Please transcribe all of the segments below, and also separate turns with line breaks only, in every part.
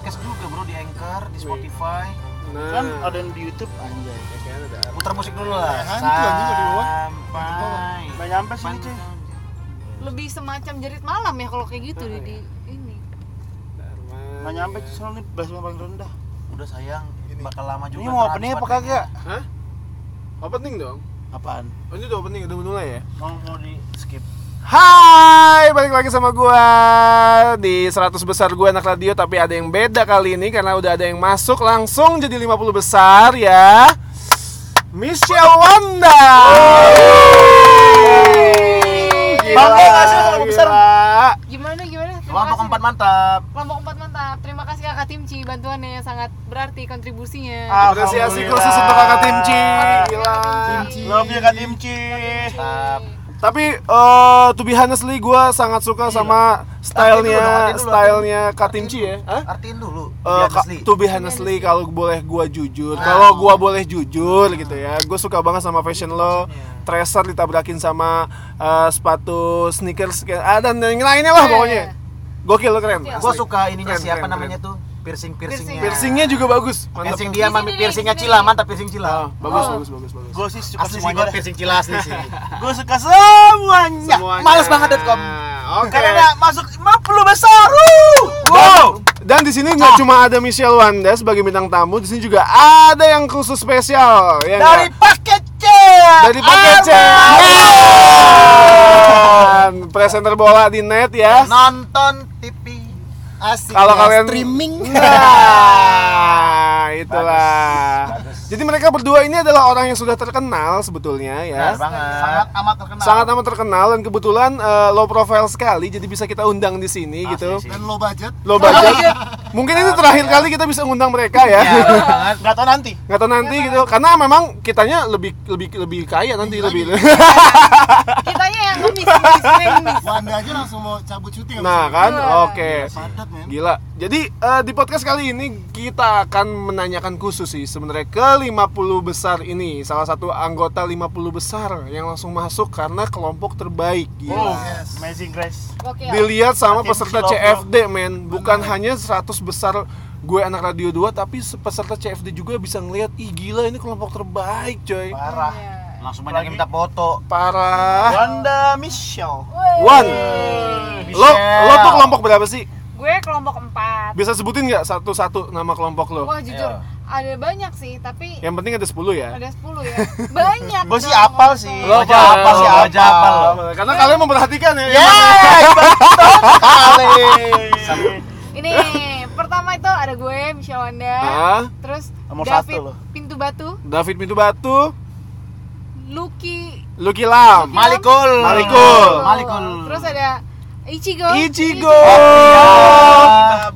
podcast juga bro di Anchor, di Spotify.
Nah,
Kan ada yang di YouTube anjay.
ya kan ada apa.
Putar musik dulu lah.
Nah, hantu anjing udah di bawah.
Sampai.
Nggak nyampe sih ini, cuy.
lebih semacam jerit malam ya kalau kayak gitu di, di- ini
Darman.
Nggak nyampe
ya.
cuy, soalnya ini bass paling rendah.
Udah sayang, bakal lama juga.
Ini mau
transfer.
opening apa kagak?
Hah? Opening dong?
Apaan?
Oh, ini udah opening, udah mulai ya?
Mau mau di skip.
Hai, balik lagi sama gua di 100 besar gua anak radio tapi ada yang beda kali ini karena udah ada yang masuk langsung jadi 50 besar ya. Michelle Wanda.
Bangga nggak sih lu sama besar?
gimana gimana terima
Kelompok
kasih.
empat mantap.
kelompok empat mantap terima kasih kakak Timci bantuannya yang sangat berarti kontribusinya
Ah, Apresiasi khusus untuk kakak tim C. Gila.
Love you Kak Timci.
Mantap.
Tapi eh to be honestly gue sangat suka
Iya.
sama stylenya
Artiin dulu, artiin dulu,
stylenya Kak Timci ya. Hah?
Artiin dulu.
Eh,
biar
ka-
Iya, asli. Iya.
to be honestly kalau boleh gua jujur kalau gua boleh jujur gitu ya gue suka banget sama fashion lo
Iya.
tracer ditabrakin sama eh, sepatu sneakers kayak- ah, dan yang lainnya lah
Iya,
pokoknya
iya.
gokil lo keren
Iya, Gua
asli.
suka ininya
Keren,
siapa
keren,
namanya tuh? Piercing-piercingnya.
piercingnya juga bagus mantap
Piercing dia, mami
Di sini,
piercingnya
di sini.
Cila, mantap piercing
Ah,
Cila.
bagus,
Oh.
bagus bagus bagus
Gue sih suka
Asli sih gua
semuanya.
piercing Cila asli sih.
Gue suka semuanya.
Semuanya.
Ya, males banget .com.
oke
Karena masuk 50 besar. wuh!
Wow. Dan di sini
Ah.
nggak cuma ada Michelle Wanda sebagai bintang tamu, di sini juga ada yang khusus spesial ya
Dari
nggak?
paket C.
dari paket C. Dan Presenter bola di net ya.
Nah, Nonton TV asik.
Kalau
ya,
kalian Iya.
streaming.
Nah, itulah. Jadi mereka berdua ini adalah orang yang sudah terkenal sebetulnya ya.
Benar banget.
Sangat amat terkenal.
Sangat amat terkenal dan kebetulan eh, low profile sekali jadi bisa kita undang di sini gitu.
sih.
dan low budget
Low budget.
Iya.
Mungkin ini terakhir kali kita bisa undang mereka
Ya,
ya.
bener banget.
Gak tau nanti.
nggak tahu nanti gitu karena memang kitanya lebih lebih lebih kaya nanti lebih
kitanya yang ngemis ngemis, ngemis.
Wanda aja langsung mau cabut syuting
nah
abis
kan
Iya.
oke
itu. padat men
gila jadi eh, di podcast kali ini kita akan menanyakan khusus sih sebenarnya ke 50 besar ini salah satu anggota 50 besar yang langsung masuk karena kelompok terbaik
Wow,
gila
Yes.
Oh, amazing Grace.
Oke,
dilihat sama
Hakim
peserta
Silopro.
CFD men bukan hanya 100 besar gue anak radio 2 tapi peserta CFD juga bisa ngelihat ih gila ini kelompok terbaik coy
Parah.
Iya.
Langsung banyak yang minta foto.
Iya.
Ah.
parah
Wanda Michelle.
Woi.
One. Lo
Michelle.
lo tuh kelompok berapa sih?
gue kelompok empat
Bisa sebutin nggak satu-satu nama kelompok lo?
wah jujur
Ayo.
ada banyak sih tapi
Yang penting ada 10 ya.
ada 10 ya banyak
Gue sih
dong,
apal
maksud.
sih.
Lo
Lo apa?
apa sih?
Lo
Aja apa lo?
Karena kalian memperhatikan ya.
Kali.
ini pertama itu ada gue Michelle Wanda
Ah,
terus
Nomor
David
satu lo.
Pintu Batu
David Pintu Batu,
Lucky
Lucky Lam,
Malikul.
Malikul.
Malikul.
terus ada Ichigo
Ichigo,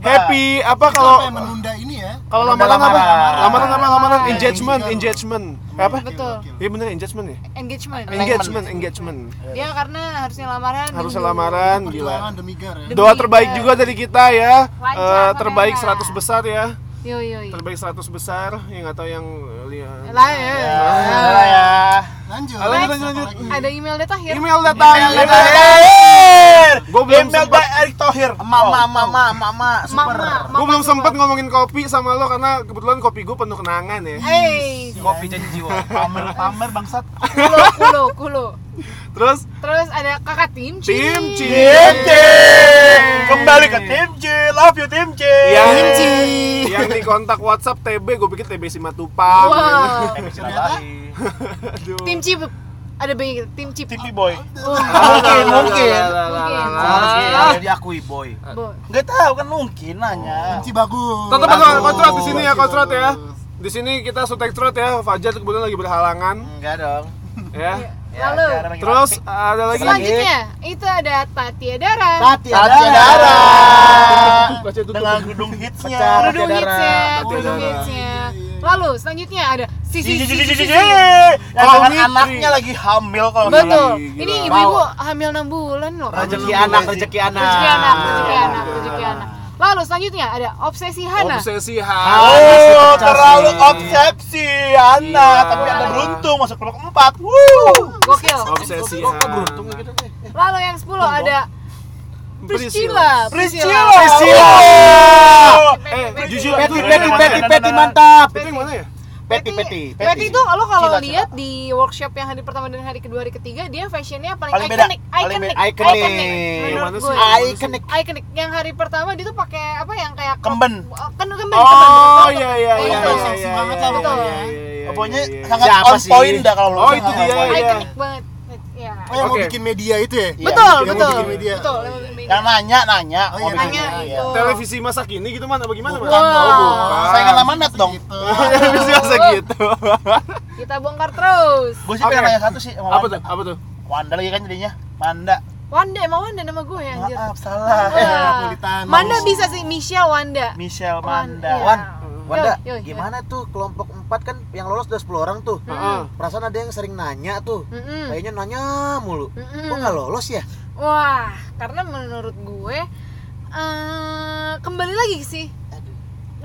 Happy, apa
Itu
kalau
apa yang menunda ini ya
kalau
Menunda
lamaran apa?
lamaran.
Lamaran apa? Lamaran
Lamaran.
engagement,
Engagement.
engagement. Apa?
Betul.
Iya bener engagement ya?
engagement
Engagement, engagement.
dia karena harusnya lamaran
Harusnya
minggu.
Kan
lamaran,
perjuangan
gila.
demigar ya
Dem-
Doa terbaik juga dari kita ya. Eh,
Lancar,
terbaik
Korea.
100 besar ya.
yo yo yo
terbaik 100 besar yang nggak tahu yang lihat
lah ya, ya.
Iya,
Salah ya.
lanjut
Lanjut, lanjut, lanjut.
Apalagi?
ada email data akhir
email datang
Terakhir.
Gua belum
Email
sempat.
by Erick Thohir.
Mama, mama, mama, super.
mama
gue belum sempat ngomongin kopi sama lo karena kebetulan kopi gue penuh kenangan ya
Hey,
Kopi janji jiwa.
Pamer-pamer bangsat.
kulo kulo kulo
terus
terus ada kakak tim Iya. Ci.
tim Ci.
Tim C. Kembali ke Tim C. Love you Tim C.
yang
Tim Ci.
yang di kontak WhatsApp TB gue pikir TB Simatupang
wow
Aduh.
tim cip ada banyak tim Oh, cip
TV Boy.
Mungkin, mungkin.
Lah, lah, lah, lah, lah, lah.
Harusnya diakui boy.
Bo-
Gak tau kan mungkin nanya.
Kunci bagus
tetap ada
Bagus.
kontrak di sini ya
Kunci
kontrak ya
bagus.
di sini kita sutek trot ya Fajar kebetulan lagi berhalangan
Enggak dong.
ya
lalu
Iya.
terus ada lagi
selanjutnya itu ada Tatia Dara
Tati
Tati Dara.
Baca tutup.
Dengan gedung hitsnya.
Pecah.
Kerudung
Tatia Dara.
hitsnya
Tatia
kerudung
Dara.
hitsnya ya. lalu selanjutnya ada
Ji,
sisi
ji, ji, ji,
sisi
ji, ji.
sisi
Yang
Kalau
dengan
Mitri.
anaknya lagi hamil kalau nggak
betul
salah.
Gila.
ini ibu-ibu hamil 6 bulan loh
Rezeki anak, rezeki anak.
rezeki anak rezeki anak rezeki anak lalu selanjutnya ada obsesi Hana
obsesi
Oh,
harus
terlalu obsesi anak,
Iya.
tapi anda beruntung masuk kelompok empat. Wuh.
gokil
obsesi
Kok
Hana.
beruntung gitu deh.
lalu yang 10 ada
Priscilla.
Priscilla.
Priscilla
Priscilla.
Wuh.
Eh,
Priscilla.
Peti,
Iya,
peti, peti
mantap.
mantap.
Itu yang mana ya?
Peti, peti.
Peti itu lo kalau
Silat,
lihat di workshop yang hari pertama dan hari kedua hari ketiga dia fashionnya paling,
Paling beda.
ikonik,
Paling
ikonik,
beda.
ikonik,
Ikonik.
Yang
Menurut
mana
gue.
Iya, sih?
Iconic.
Ikonik. Yang hari pertama dia tuh pakai apa yang kayak crop-
Kemben.
Oh, Kan kemben.
Oh
kemben.
iya iya iya.
Iya,
iya,
iya,
seksi
iya,
banget
iya,
lah pokoknya.
iya, iya, iya,
Pokoknya
iya, iya.
sangat
Siapa
on
sih?
point dah kalau Iya.
Oh, itu dia
Yang
ya.
Ikonik banget. Ya.
Oh yang
Oke.
mau bikin media itu ya?
Iya.
Betul,
Yang
betul.
bikin media.
Betul.
Yang nanya, nanya.
Oh, iya,
bikin
nanya,
media.
itu.
Televisi masa kini gitu mana bagaimana? Mas?
Bukan.
Oh, bukan.
Saingan amanat dong.
Gitu.
Televisi masa gitu.
Kita bongkar terus.
Gue sih pengen
Oke.
nanya satu sih sama
Apa
Wanda.
tuh? Apa tuh?
Wanda lagi kan jadinya. Manda.
Wanda, emang Wanda nama gue ya
Ah,
anjir.
Maaf,
Eh,
salah.
Wah.
Napolitano.
Manda bisa sih Michelle Wanda.
Michelle
Wan-
Manda.
iya.
Wan,
Yo,
Wanda,
yo, yo.
gimana tuh kelompok 4 kan yang lolos udah 10 orang tuh.
Heeh.
Perasaan ada yang sering nanya tuh.
Iya. Mm-mm.
Kayaknya nanya mulu.
Mm-mm.
Kok nggak lolos ya?
Wah, karena menurut gue eh kembali lagi sih.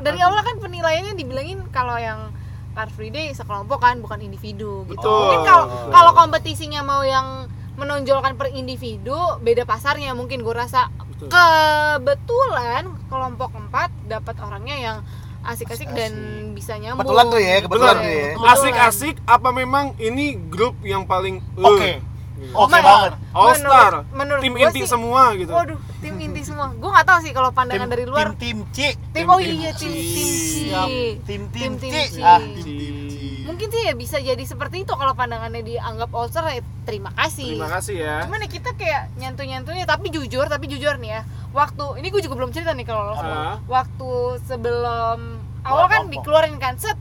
Dari awal kan penilaiannya dibilangin kalau yang Car Free Day sekelompok kan, bukan individu gitu.
Betul.
Oh.
Mungkin kalau kalau kompetisinya mau yang menonjolkan per individu, beda pasarnya mungkin gue rasa.
Betul.
Kebetulan kelompok 4 dapat orangnya yang asik-asik dan bisa nyambung.
Kebetulan tuh ya, kebetulan
Betul.
tuh ya.
Kebetulan.
Asik-asik apa memang ini grup yang paling eh,
Oke. Oke
Menurut-
banget.
All star.
menurut- menurut
Tim
gue
inti
sih-
semua gitu.
Waduh, tim inti semua. Gue nggak tahu sih kalau pandangan dari luar.
Tim Tim C.
Tim, oh iya tim tim C.
Tim Tim
Tim
C.
C.
Ah,
Mungkin sih ya bisa jadi seperti itu kalau pandangannya dianggap ulcer ya terima kasih.
Terima kasih ya.
Cuman ya kita kayak nyantuy-nyantuy tapi jujur, tapi jujur nih ya. Waktu ini gue juga belum cerita nih kalau lo.
Ah.
Waktu sebelum awal kan
kelompok.
dikeluarin kan set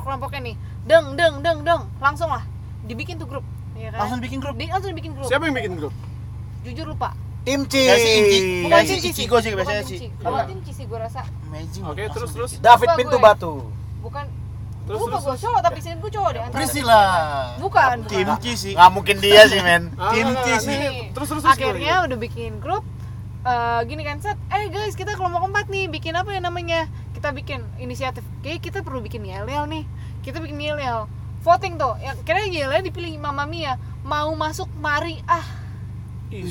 kelompoknya nih. Deng deng deng deng langsung lah dibikin tuh grup. Ya kan?
langsung bikin grup.
Di- langsung bikin grup.
Siapa yang bikin grup?
Jujur lupa.
Tim C.
Kayak si Inci.
Bukan
Kayak si
tim C
Ichigo sih
Bukan
biasanya
tim
sih.
C. Bukan tim C sih gue rasa.
Amazing.
Oke,
Langsung
terus
bikin.
terus
David
Lupa
Pintu
gue.
Batu.
Bukan
terus
lupa
terus.
gue cowok tapi
Ya.
sini gue cowok deh. antara-
Priscilla.
Bukan.
Tim
bukan.
C sih.
Nggak mungkin dia sih, men.
Ah,
Tim
enggak,
C
enggak,
sih.
nih,
Nih,
Terus terus terus,
akhirnya udah bikin grup eh, gini kan set eh guys kita kelompok empat nih bikin apa ya namanya kita bikin inisiatif kayak kita perlu bikin yel-yel nih kita bikin yel-yel voting tuh ya kira yel dipilih Mama Mia mau masuk mari ah
Ih,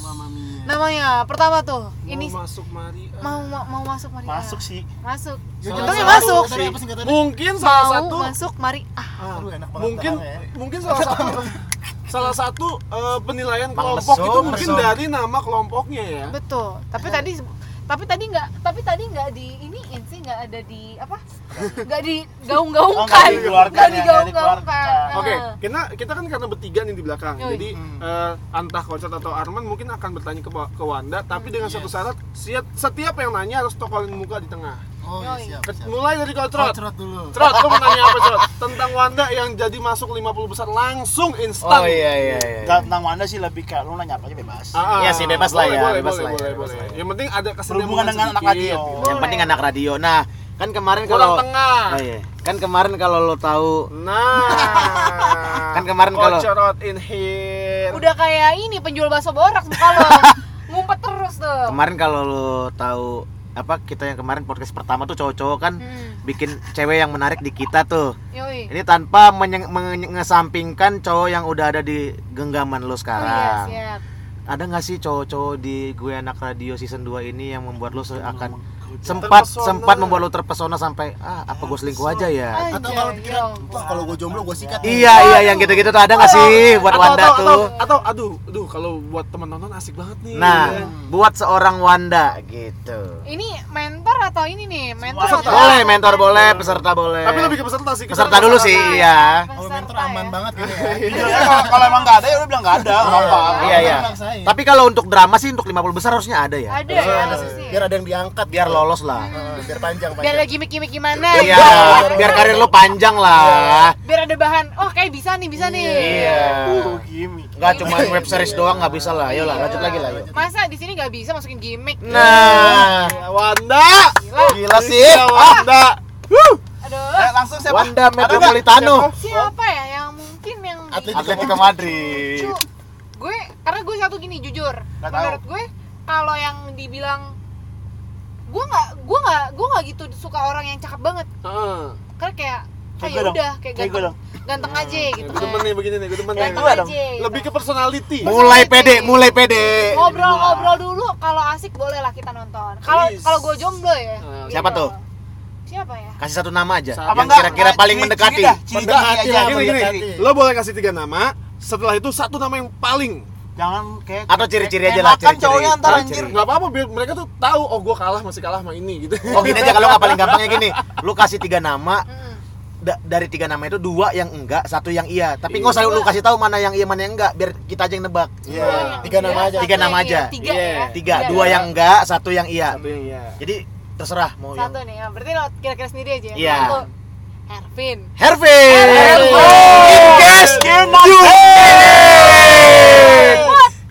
Mama Mia.
namanya pertama tuh
ini
ini
masuk Ah. Maria.
mau mau, mau masuk mari ah.
Masuk sih.
masuk
Ya,
Untungnya
salah
masuk
satu. Tadi apa singkatannya?
Mungkin salah
mau
satu
masuk mari ah
Ah,
Aduh, ya, enak banget
mungkin
tangannya
mungkin salah satu salah satu eh, penilaian kelompok
mesum,
itu mungkin
mesum.
dari nama kelompoknya ya.
betul tapi
Nah.
tadi tapi tadi nggak tapi tadi nggak di ini sih nggak ada di apa nggak di
Oh, nggak
gaung-gaungkan
dikeluarkan
nggak
ya,
di
nggak
gaung-gaungkan
dikeluarkan.
Oke,
Ah.
kita kita kan karena bertiga nih di belakang.
Yoi.
Jadi
Hmm.
eh, antah Kocet atau Arman mungkin akan bertanya ke, ke Wanda, tapi
Hmm,
dengan satu syarat siat- setiap yang nanya harus tokolin muka di tengah.
Oh, iya,
Yoi.
siap,
Ke-
siap.
Mulai dari
Oh,
Kocrot.
cerot dulu.
Trot, kamu nanya apa Trot? Tentang Wanda yang jadi masuk 50 besar langsung instan.
Oh iya iya iya.
Gak tentang mana sih lebih kayak lu nanya apa aja bebas.
Ah, ah.
Iya sih, bebas lah
Boleh,
ya,
Boleh,
bebas
boleh,
lah ya,
boleh,
bebas
boleh.
lah ya.
Yang penting ada kesenangan
Berhubungan dengan anak radio.
Yang
Boleh.
penting anak radio. Nah, kan kemarin
Kurang
kalau
tengah.
Ah.
Oh, iya. Kan kemarin kalau lo tahu
Nah.
Kan kemarin kalau-
Kocrot in here.
udah kayak ini penjual bakso borak muka lo ngumpet terus tuh
kemarin kalau lo tahu apa kita yang kemarin podcast pertama tuh cowok-cowok kan
Hmm, Iya.
bikin cewek yang menarik di kita tuh.
yoi
Ini tanpa menye- mengesampingkan cowok yang udah ada di genggaman lo
Oh iya,
sekarang.
siap.
ada nggak sih cowok-cowok di gue anak radio season 2 ini yang membuat lo akan
Terpesona.
sempat sempat membuat lo terpesona sampai ah apa gue selingkuh aja ya
Atau
Anjay,
kalau pikiran,
yo.
wah kalau gue jomblo gue sikat. nih.
iya iya yang gitu-gitu tuh ada nggak sih buat
Atau-
Wanda
atau,
tuh
Atau, atau, aduh, aduh kalau buat teman nonton asik banget nih.
nah buat seorang Wanda gitu
ini mentor atau ini nih mentor
Peserta.
atau-
boleh mentor boleh peserta boleh
Tapi lebih ke peserta sih.
peserta dulu sih iya
Peserta
Kalau mentor
ya.
aman banget kayaknya ya.
Jujur aja, kalau- kalau emang gak ada ya lu bilang gak ada. Gak apa.
iya iya
Maksain.
tapi kalau untuk drama sih untuk 50 besar harusnya ada ya
ada ya
Ada.
sih.
Biar ada yang diangkat,
biar lolos lah
Eh, biar panjang
biar ada
panjang.
gimmick-gimmick gimana
iya biar karir lo panjang lah
biar ada bahan oh kayak bisa nih bisa nih
iya
Uh, gimmick.
Gak cuma web series doang nggak bisa lah. Ayolah
Iya,
lanjut lagi lah. yuk.
masa di sini nggak bisa masukin gimmick
Nah,
Wanda.
Nah.
gila sih. Gitu.
Iya, Wanda.
aduh
Eh, langsung siapa?
Wanda Metropolitano.
siapa ya yang mungkin yang di-
Atlet-
Atletico Madrid.
lucu gue karena gue satu gini jujur
Nggak tahu.
menurut gue kalau yang dibilang gue nggak gue nggak gue nggak gitu suka orang yang cakep banget
Heeh.
karena kayak
Kayak
kayak
gue dong.
udah kayak
Kayak gue Nah,
ganteng ganteng aja gitu
Gue temen
kan
nih begini nih, gue temen
Kayak
nih.
gue dong.
aja gitu.
Lebih ke personality.
Mulai pede, mulai pede.
ngobrol-ngobrol dulu kalau asik boleh lah kita nonton kalau
Yes.
kalau gue jomblo ya
Hmm.
gitu.
Eh, Siapa tuh?
siapa ya
Kasih satu nama aja.
Satu.
Yang
Apa enggak?
kira-kira paling mendekati.
Mendekati lah, gini, gini.
mendekati.
Lo boleh kasih tiga nama, setelah itu satu nama yang paling
Jangan kayak
Atau ciri-ciri aja lah,
Kan
ciri-ciri.
cowoknya ntar anjir.
Ciri-ciri.
nggak apa-apa biar mereka tuh tahu oh gue kalah masih kalah sama ini gitu
Oh gini aja kalau nggak paling gampangnya gini, lu kasih tiga nama,
Mm-mm.
da- dari tiga nama itu dua yang enggak, satu yang iya. Tapi nggak usah lu kasih tahu mana yang iya mana yang enggak, biar kita aja yang nebak.
Iya,
Dua yang
tiga nama
iya,
aja.
satu
Tiga nama
yang iya,
aja.
tiga
Iya.
ya
Tiga,
Iya.
dua yang enggak, satu yang iya.
satu yang ya
Jadi terserah mau yang.
satu nih ya berarti lo kira-kira sendiri aja ya
Iya.
Satu, Ervin
Hervin. Oh,
Yes, Gilman.
Iya.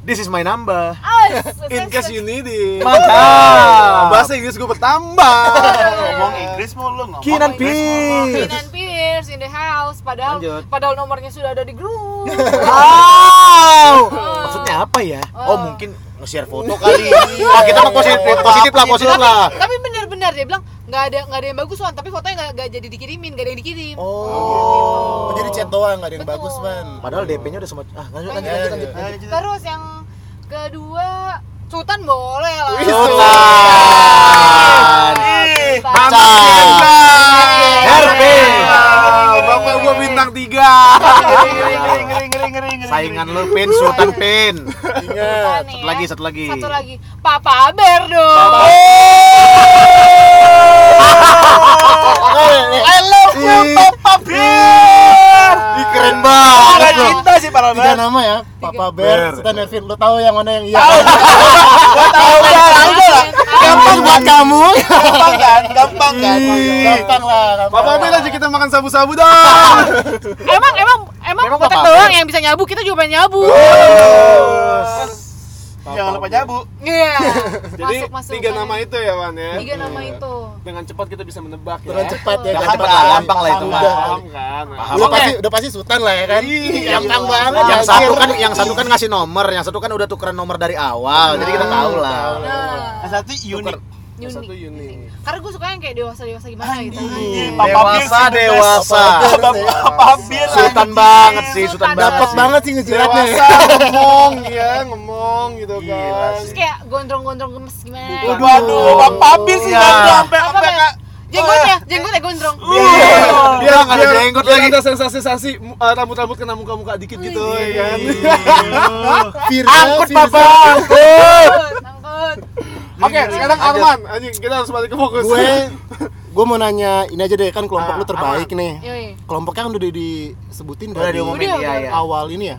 This is my number.
awas
in case you need it
Mantap.
bahasa Inggris gue bertambah
Ngomong Inggris mulu ngomong.
Kinan
Inggris mulu.
Pierce.
Kinan Pierce in the house padahal
Lanjut. Ah,
padahal nomornya sudah ada di grup
Wow. Maksudnya apa ya? Oh,
Oh.
mungkin nge-share foto kali.
Nah,
Oh, kita
Iya.
mah positif, positif lah, positif lah.
tapi benar-benar dia bilang nggak ada nggak ada yang bagus Wan tapi fotonya nggak nggak jadi dikirimin nggak ada yang dikirim Gitu.
Oh.
Jadi chat doang nggak ada yang
Betul.
bagus man.
Padahal DP-nya udah semacam ah lanjut lanjut
Iya,
lanjut.
iya.
lanjut.
terus yang kedua Sultan boleh lah
Sultan.
Ih,
Sultan.
Hervin.
Wow, bapak gue bintang tiga
Ngeri, ngeri, ngeri, ngeri, ngeri, ngeri.
Saingan lu Pin, Sultan Pin.
Ingat.
Sultan
Satu
ya.
lagi, satu lagi.
satu lagi Papa Aber dong
Oh.
I love you, Papa Bear. Ih, keren
Parah
banget lu.
Iya. cinta sih parah
Tiga
banget.
nama ya. Papa Bear, Stan Nevin. Lo tahu yang mana yang iya?
kan?
Gampang buat kamu.
Gampang kan? Gampang kan?
Gampang lah. gampang
Papa
lah.
Amir aja kita makan sabu-sabu dong
emang emang emang
Memang
botak
Papa
doang
Aber.
yang bisa nyabu kita juga pengen nyabu
Jangan lupa nyabu.
iya
jadi
masuk masuk
tiga
Wan.
nama itu ya Wan ya
tiga nama itu Nah,
dengan cepat kita bisa menebak ya
Dengan cepat ya.
Jangan
dengan
cepat
cepat
lah,
ya.
gampang lah itu mah.
Udah.
paham kan
Paham.
Udah
Oke.
pasti udah pasti sultan lah ya kan.
Iya.
Gampang banget.
yang
anjir.
satu kan yang satu kan ngasih nomor, yang satu kan udah tukeran nomor dari awal. Jadi kita tahu lah.
nah
Yang satu unik.
Yang satu
unik
unik
karena gue suka yang kayak dewasa dewasa gimana gitu
Ih, Papa
Dewasa,
Bill sih the best.
dewasa.
Papa Papa Bill
Sultan
anjing.
banget sih, Sultan
Sultan
Dapat
banget. sih.
banget sih ngejilatnya.
dewasa ngomong ya ngomong gitu kan
terus kayak gondrong-gondrong gemes gimana
Waduh, waduh, Papa Bill sih
Iya.
nyabu sampai
apa
sampai
kayak Iya. jenggotnya jenggotnya gondrong
Dia nggak ada jenggot
Iya. biar
lagi.
ada sensasi-sensasi mu- eh, rambut-rambut kena muka-muka dikit gitu ya kan
Iya. Virga,
Angkut
Virga.
Papa.
angkut
Iya. oke sekarang Arman anjing kita harus balik ke fokus
Gue gue mau nanya ini aja deh kan kelompok lu terbaik nih.
Yoi.
Kelompoknya kan udah disebutin
Udah
dari
diumumin
Udah,
ya
udah.
ya.
awal ini ya.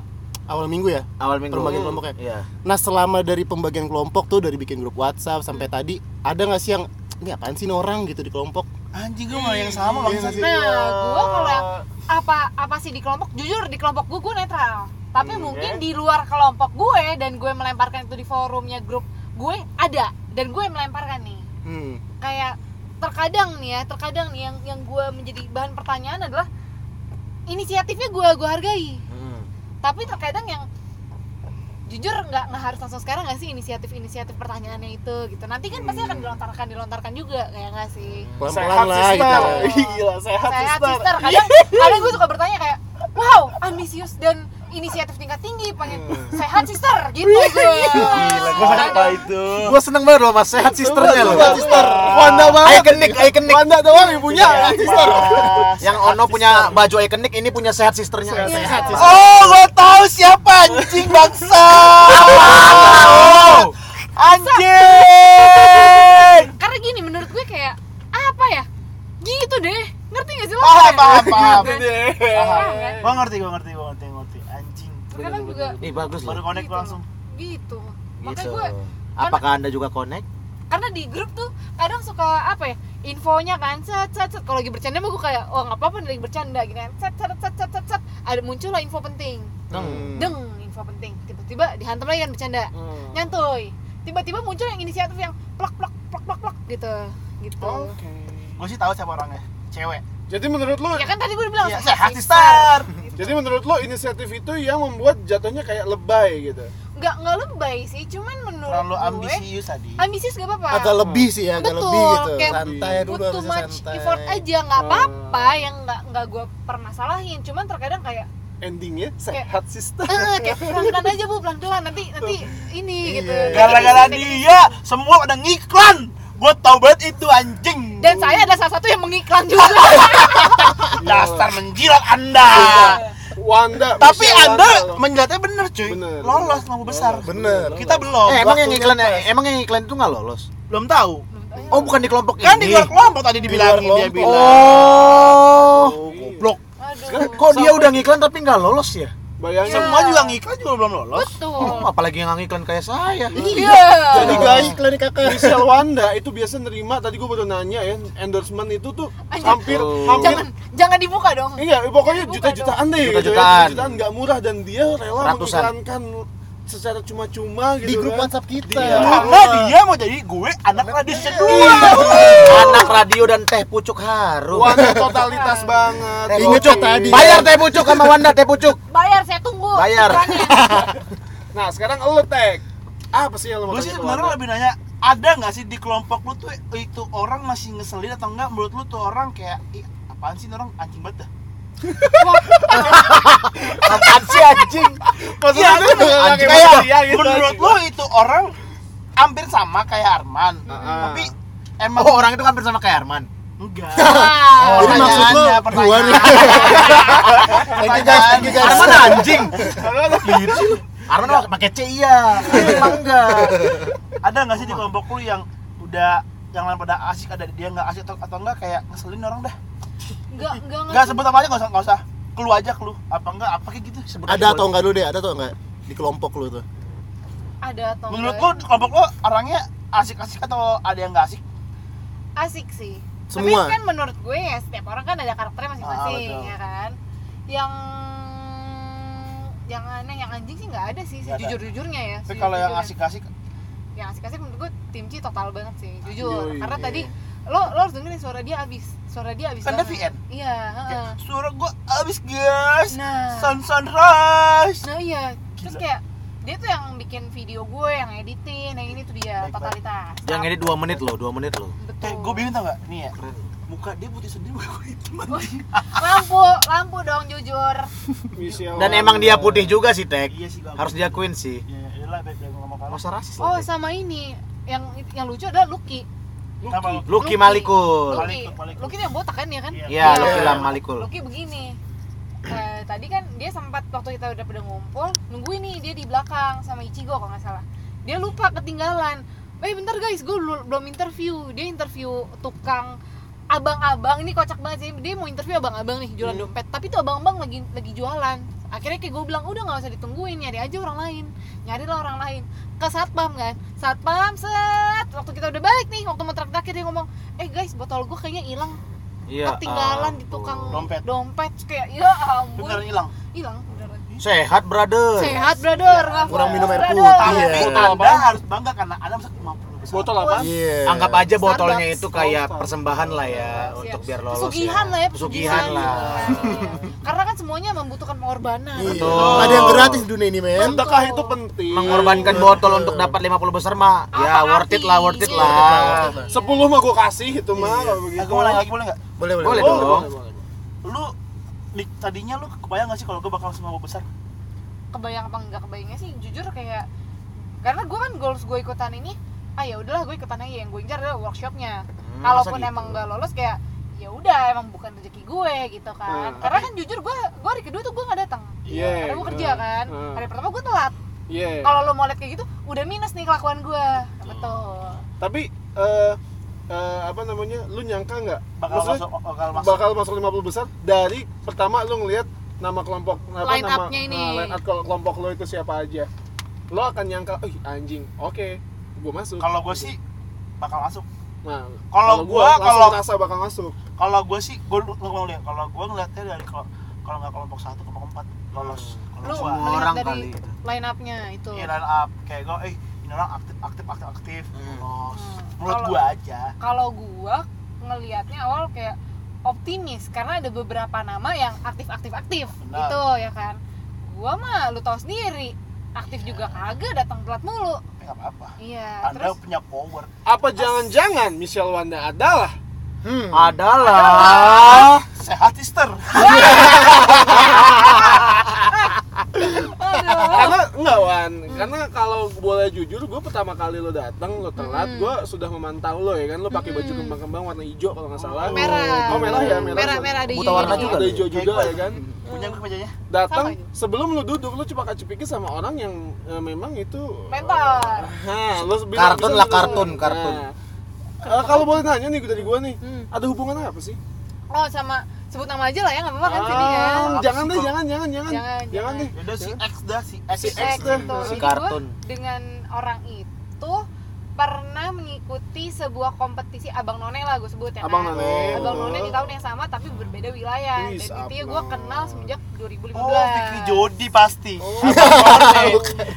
Awal minggu ya.
Awal minggu.
Pembagian kelompoknya.
Iya.
Nah selama dari pembagian kelompok tuh dari bikin grup WhatsApp sampai tadi ada nggak sih yang ini apaan sih ini orang gitu di kelompok?
Anjing gue mau yang sama bang.
nah gue kalau yang apa apa sih di kelompok jujur di kelompok gue gue netral tapi mungkin di luar kelompok gue dan gue melemparkan itu di forumnya grup gue ada dan gue melemparkan nih
Hmm.
kayak terkadang nih ya terkadang nih yang yang gue menjadi bahan pertanyaan adalah inisiatifnya gue gue hargai
Hmm.
tapi terkadang yang jujur nggak nggak harus langsung sekarang nggak sih inisiatif inisiatif pertanyaannya itu gitu nanti kan pasti akan dilontarkan dilontarkan juga kayak nggak sih
Pelan-pelan lah gitu.
sister.
loh.
Ih,
iya,
Gila sehat,
saya
sister.
sister kadang kadang gue suka bertanya kayak wow ambisius dan inisiatif tingkat tinggi pengen sehat sister gitu gue
Gue apa itu?
Gua seneng banget loh Mas, sehat sisternya loh.
Sehat sister. Wanda banget.
Ikonik, ikonik.
Wanda doang ibunya. Sister.
Yang Ono punya baju ikonik, ini punya sehat sisternya. Iya.
Sehat sister.
Oh, gue tahu siapa anjing bangsa.
Oh!
Anjing.
karena gini menurut gue kayak apa ya gitu deh ngerti gak sih lo
Paham,
Kayak-
Oh, paham, paham.
Gitu deh. Paham kan?
Gue ngerti, gue ngerti, gue ngerti, gua ngerti. Anjing.
Terkadang juga
Ih, bagus
Baru
loh.
connect
gitu.
langsung.
gitu makanya
Gitu.
gue
Apakah Anda juga connect?
karena di grup tuh kadang suka apa ya infonya kan cet cet cet kalau lagi bercanda mah gue kayak oh nggak apa-apa lagi bercanda gitu kan cet cet cet cet cet cet ada muncul lah info penting
Hmm.
Hmm.
deng info penting tiba-tiba dihantam lagi kan bercanda
Hmm.
nyantuy tiba-tiba muncul yang inisiatif yang plak plak plak plak plak gitu gitu
Oh.
Oke.
Gue sih tahu siapa orangnya. Cewek.
Jadi menurut lo,
ya kan tadi gue bilang
Iya,
saya
sehat
sister.
sister.
jadi menurut lo inisiatif itu yang membuat jatuhnya kayak lebay gitu.
nggak nggak lebay sih cuman menurut
Terlalu
gue
ambisius tadi.
ambisius gak apa-apa
Agak lebih sih, agak
Betul,
lebih gitu.
kayak
Santai
put
dulu
too
harus
much
santai. Oh.
effort aja nggak apa-apa yang nggak nggak gue permasalahin cuman terkadang kayak
Endingnya sehat sister.
eh kayak pelan-pelan aja bu pelan-pelan nanti nanti ini gitu
Iya.
Nanti
Gara-gara
ini, nanti ini.
dia, semua udah ngiklan. Gue tau banget itu anjing.
dan saya ada salah satu yang mengiklan juga
Dasar menjilat Anda.
Iya.
Wanda.
Tapi
Michelle
Anda
Wanda loh.
menjilatnya bener cuy.
Bener.
Lolos lampu besar.
Bener.
Kita belum.
Eh, emang yang
Waktunya
iklan
pas.
emang yang iklan itu nggak lolos?
belum tahu.
Oh, bukan di kelompok
Kan di
ini.
luar kelompok tadi dibilangin dia
luar kelompok.
bilang.
Oh.
Oh, goblok.
aduh
Kan Kok dia udah ngiklan tapi nggak lolos ya?
Bayangin.
Iya.
Semua juga ngiklan juga belum lolos.
Oh,
betul
apalagi yang ngiklan kayak saya.
iya
Jadi guys, iklan kakak.
Michelle Wanda itu biasa nerima tadi gue baru nanya ya endorsement itu tuh
Anjir.
hampir
Oh.
hampir
Iya. jangan jangan dibuka dong
Iya, pokoknya
Bukan
juta-jutaan deh. gitu ya.
Juta-jutaan.
Juta-jutaan nggak murah dan dia
Ratusan.
rela mengiklankan secara cuma-cuma gitu.
Di grup
kan.
WhatsApp kita.
Iya.
Karena dia mau jadi gue anak radius
Iya.
kedua.
Anak radio dan teh pucuk harum.
Wanda totalitas banget.
Teh
Ingat
pucuk.
tuh tadi.
Bayar teh pucuk sama Wanda teh pucuk.
bayar saya tunggu
Bayar.
iklannya.
Nah, sekarang elu tek. Apa sih yang lo mau
Gue
tanya
sih
ke
sebenarnya
Wanda?
lebih nanya ada nggak sih di kelompok lu tuh itu orang masih ngeselin atau enggak menurut lu tuh orang kayak "Ih, apaan sih ini orang anjing banget dah
Apaan sih anjing?
Maksudnya
Iya,
dia
bener.
nggak
Anjing
pakai
kayak-
manusia gitu,
menurut
anjing.
lu itu orang hampir sama kayak Arman
Heeh.
tapi emang
Oh, orang itu hampir sama kayak Arman.
enggak
Wah.
Jadi maksud lu
Pertanyaannya,
gua nih. Thank you guys, thank you guys.
Arman anjing. Arman mah pakai C iya. Emang enggak.
ada nggak sih di kelompok lu yang udah yang lain pada asik ada dia nggak asik atau, atau enggak kayak ngeselin orang dah
Enggak, enggak,
nggak sebut apa aja nggak usah nggak usah keluar aja kelu apa enggak apa kayak gitu sebut
Ada
aja
atau
keluar.
enggak lu deh? Ada atau enggak di kelompok lu tuh?
Ada atau
menurut lu
enggak? ya?
di kelompok lu orangnya asik-asik atau ada yang nggak asik
Asik sih.
Semua.
Tapi kan menurut gue ya setiap orang kan ada karakternya masing-masing
Ah, betul.
ya kan. Yang yang aneh, yang anjing sih nggak ada sih,
Nggak ada.
sejujur-jujurnya ya.
tapi kalau yang
sejujurnya.
asik-asik
yang asik-asik menurut gue tim C total banget sih,
Ah,
jujur.
Yoi.
Karena tadi lo lo harus dengerin suara dia abis, suara dia abis.
Kan dia Ya.
banget.
VN.
Iya. heeh.
Kayak, suara gua abis guys
Nah.
sun sunrise
Nah iya, terus
Gila.
kayak dia tuh yang bikin video gue, yang editin, yang ini tuh dia
Baik, baik.
totalitas.
Yang edit 2 menit loh, 2 menit loh.
Betul.
eh gua bingung tau gak nih ya muka dia putih sendiri muka gua hitam anjing.
lampu, lampu dong jujur.
Michelle
Dan
Wanda.
emang dia putih juga sih, Tek.
iya sih gua
Harus diakuin sih.
iya iya lah baik baik ngomong apa
Masa rasis
Oh
lah, Tek.
sama ini yang yang lucu adalah Lucky.
Kenapa lu?
Lucky
Lucky.
Malikul.
Lucky,
Malikul, Malikul.
Lucky itu yang botak kan ya kan?
Iya.
Iya,
Iya.
Lucky Lam Malikul.
Lucky begini. Eh, tadi kan dia sempat waktu kita udah pada ngumpul nungguin nih dia di belakang sama Ichigo kalau nggak salah. Dia lupa ketinggalan. Eh bentar guys, gue belum interview. Dia interview tukang abang-abang ini kocak banget sih dia mau interview abang-abang nih jualan dompet tapi tuh abang-abang lagi lagi jualan akhirnya kayak gue bilang udah nggak usah ditungguin nyari aja orang lain nyarilah orang lain ke satpam kan satpam set waktu kita udah balik nih waktu mau terakhir terakhir dia ngomong eh guys botol gue kayaknya hilang
Iya.
ah.
ketinggalan di
ampun.
tukang
Dompet.
dompet Terus kayak ya
beneran
ampun
hilang
hilang beneran.
eh, Sehat, brother.
sehat brother nggak
Iya. Kurang
fokus,
minum air
brother.
putih,
tapi
Iya.
anda harus bangga karena anda masuk 50 besar
botol apa?
Iya.
Anggap aja botolnya
Starbucks.
itu kayak
Starbucks.
persembahan lah ya
Iya.
untuk biar lolos.
pesugihan lah ya
Pesugihan lah.
Iya. karena kan semuanya membutuhkan pengorbanan
Iya.
Betul.
Ada yang gratis di dunia ini, men.
Sedekah itu penting.
Mengorbankan botol untuk dapat 50 besar mah ya
Apa
worth it
arti?
lah, worth it
Iya.
lah.
10 mah gue kasih itu mah kalau begitu.
aku mau nanya lagi boleh nggak
Iya. Boleh,
Boleh
boleh.
Boleh,
dong.
boleh, boleh.
lu di- tadinya lu kebayang gak sih kalau gue bakal semua besar
kebayang apa nggak kebayangnya sih jujur kayak karena gue kan goals gue ikutan ini ah ya udahlah gue ikutan aja yang gue incar adalah workshopnya
Hmm,
kalaupun
masa gitu?
emang nggak lolos kayak ya udah emang bukan rezeki gue gitu kan
Hmm.
karena kan jujur gue gue hari kedua tuh gue nggak datang
Iya.
karena gue kerja
Hmm.
kan
Hmm.
hari pertama gue telat
Iya. Hmm.
kalau lo mau lihat kayak gitu udah minus nih kelakuan gue betul
Tapi eh eh, apa namanya? Lu nyangka nggak?
bakal
Maksudnya,
masuk bakal masuk
bakal masuk 50 besar dari pertama lu ngelihat nama kelompok apa
Line
nama
up-nya ini.
nah, line up kel- kelompok lo itu siapa aja lo akan nyangka ih anjing oke gue masuk
kalau gue sih bakal masuk
nah,
kalau
gua
gua-
langsung
kalau-
rasa bakal masuk
kalau gue sih gue ngomong deh kalau gue ngeliatnya dari kalau kalau nggak kelompok satu kelompok empat lolos
lu
kalau
Semua
gua
melihat
orang
dari
kali.
line up-nya itu
Iya,
ya line up kayak gue eh ini orang aktif aktif aktif aktif
Hmm.
lolos
Hmm.
menurut
Kalau-
gue aja
kalau gua ngelihatnya awal kayak optimis karena ada beberapa nama yang aktif-aktif aktif
Benar.
gitu ya kan gua mah lu tau sendiri
Iya.
aktif juga kagak datang telat mulu
tapi nggak apa-apa
iya
anda
terus
punya power
apa jangan-jangan Michelle Wanda adalah
Hmm.
Adalah
Hmm.
sehat sister
aduh,
karena enggak Wan karena kalau boleh jujur gue pertama kali lo datang lo telat gue sudah memantau lo ya kan lo pakai baju kembang-kembang warna hijau kalau nggak salah oh
merah
merah ya merah
merah merah ada
Buta
hijau
warna
hijau.
juga.
ada hijau
Kayak
juga
gua.
ya kan
punya gue kejadiannya
datang
Sama aja.
sebelum lu duduk lu cepat kacipiki sama orang yang eh, memang itu
mentor
Hah, lu bilang
Kartun
bisa
lah,
lu-
kartun,
Nah,
kartun.
eh, kalau boleh nanya nih dari gua nih,
Hmm.
ada hubungan apa sih?
oh sama sebut nama aja lah ya nggak apa-apa kan sini
Ah,
ya
Apa
jangan
sih,
deh,
kok?
jangan, jangan, jangan,
Jangan, jangan.
deh.
Yaudah si
Jangan.
X dah si X.
Si X
X
deh.
gitu.
Si
Jadi
kartun.
gua dengan orang itu pernah mengikuti sebuah kompetisi abang none lah gue sebut ya
Abang
kan?
None.
abang none di tahun yang sama tapi berbeda wilayah
Wih,
dan intinya
sapno.
gue kenal semenjak 2015
Oh, Fikri Jodi pasti.
Oh.
Abang None.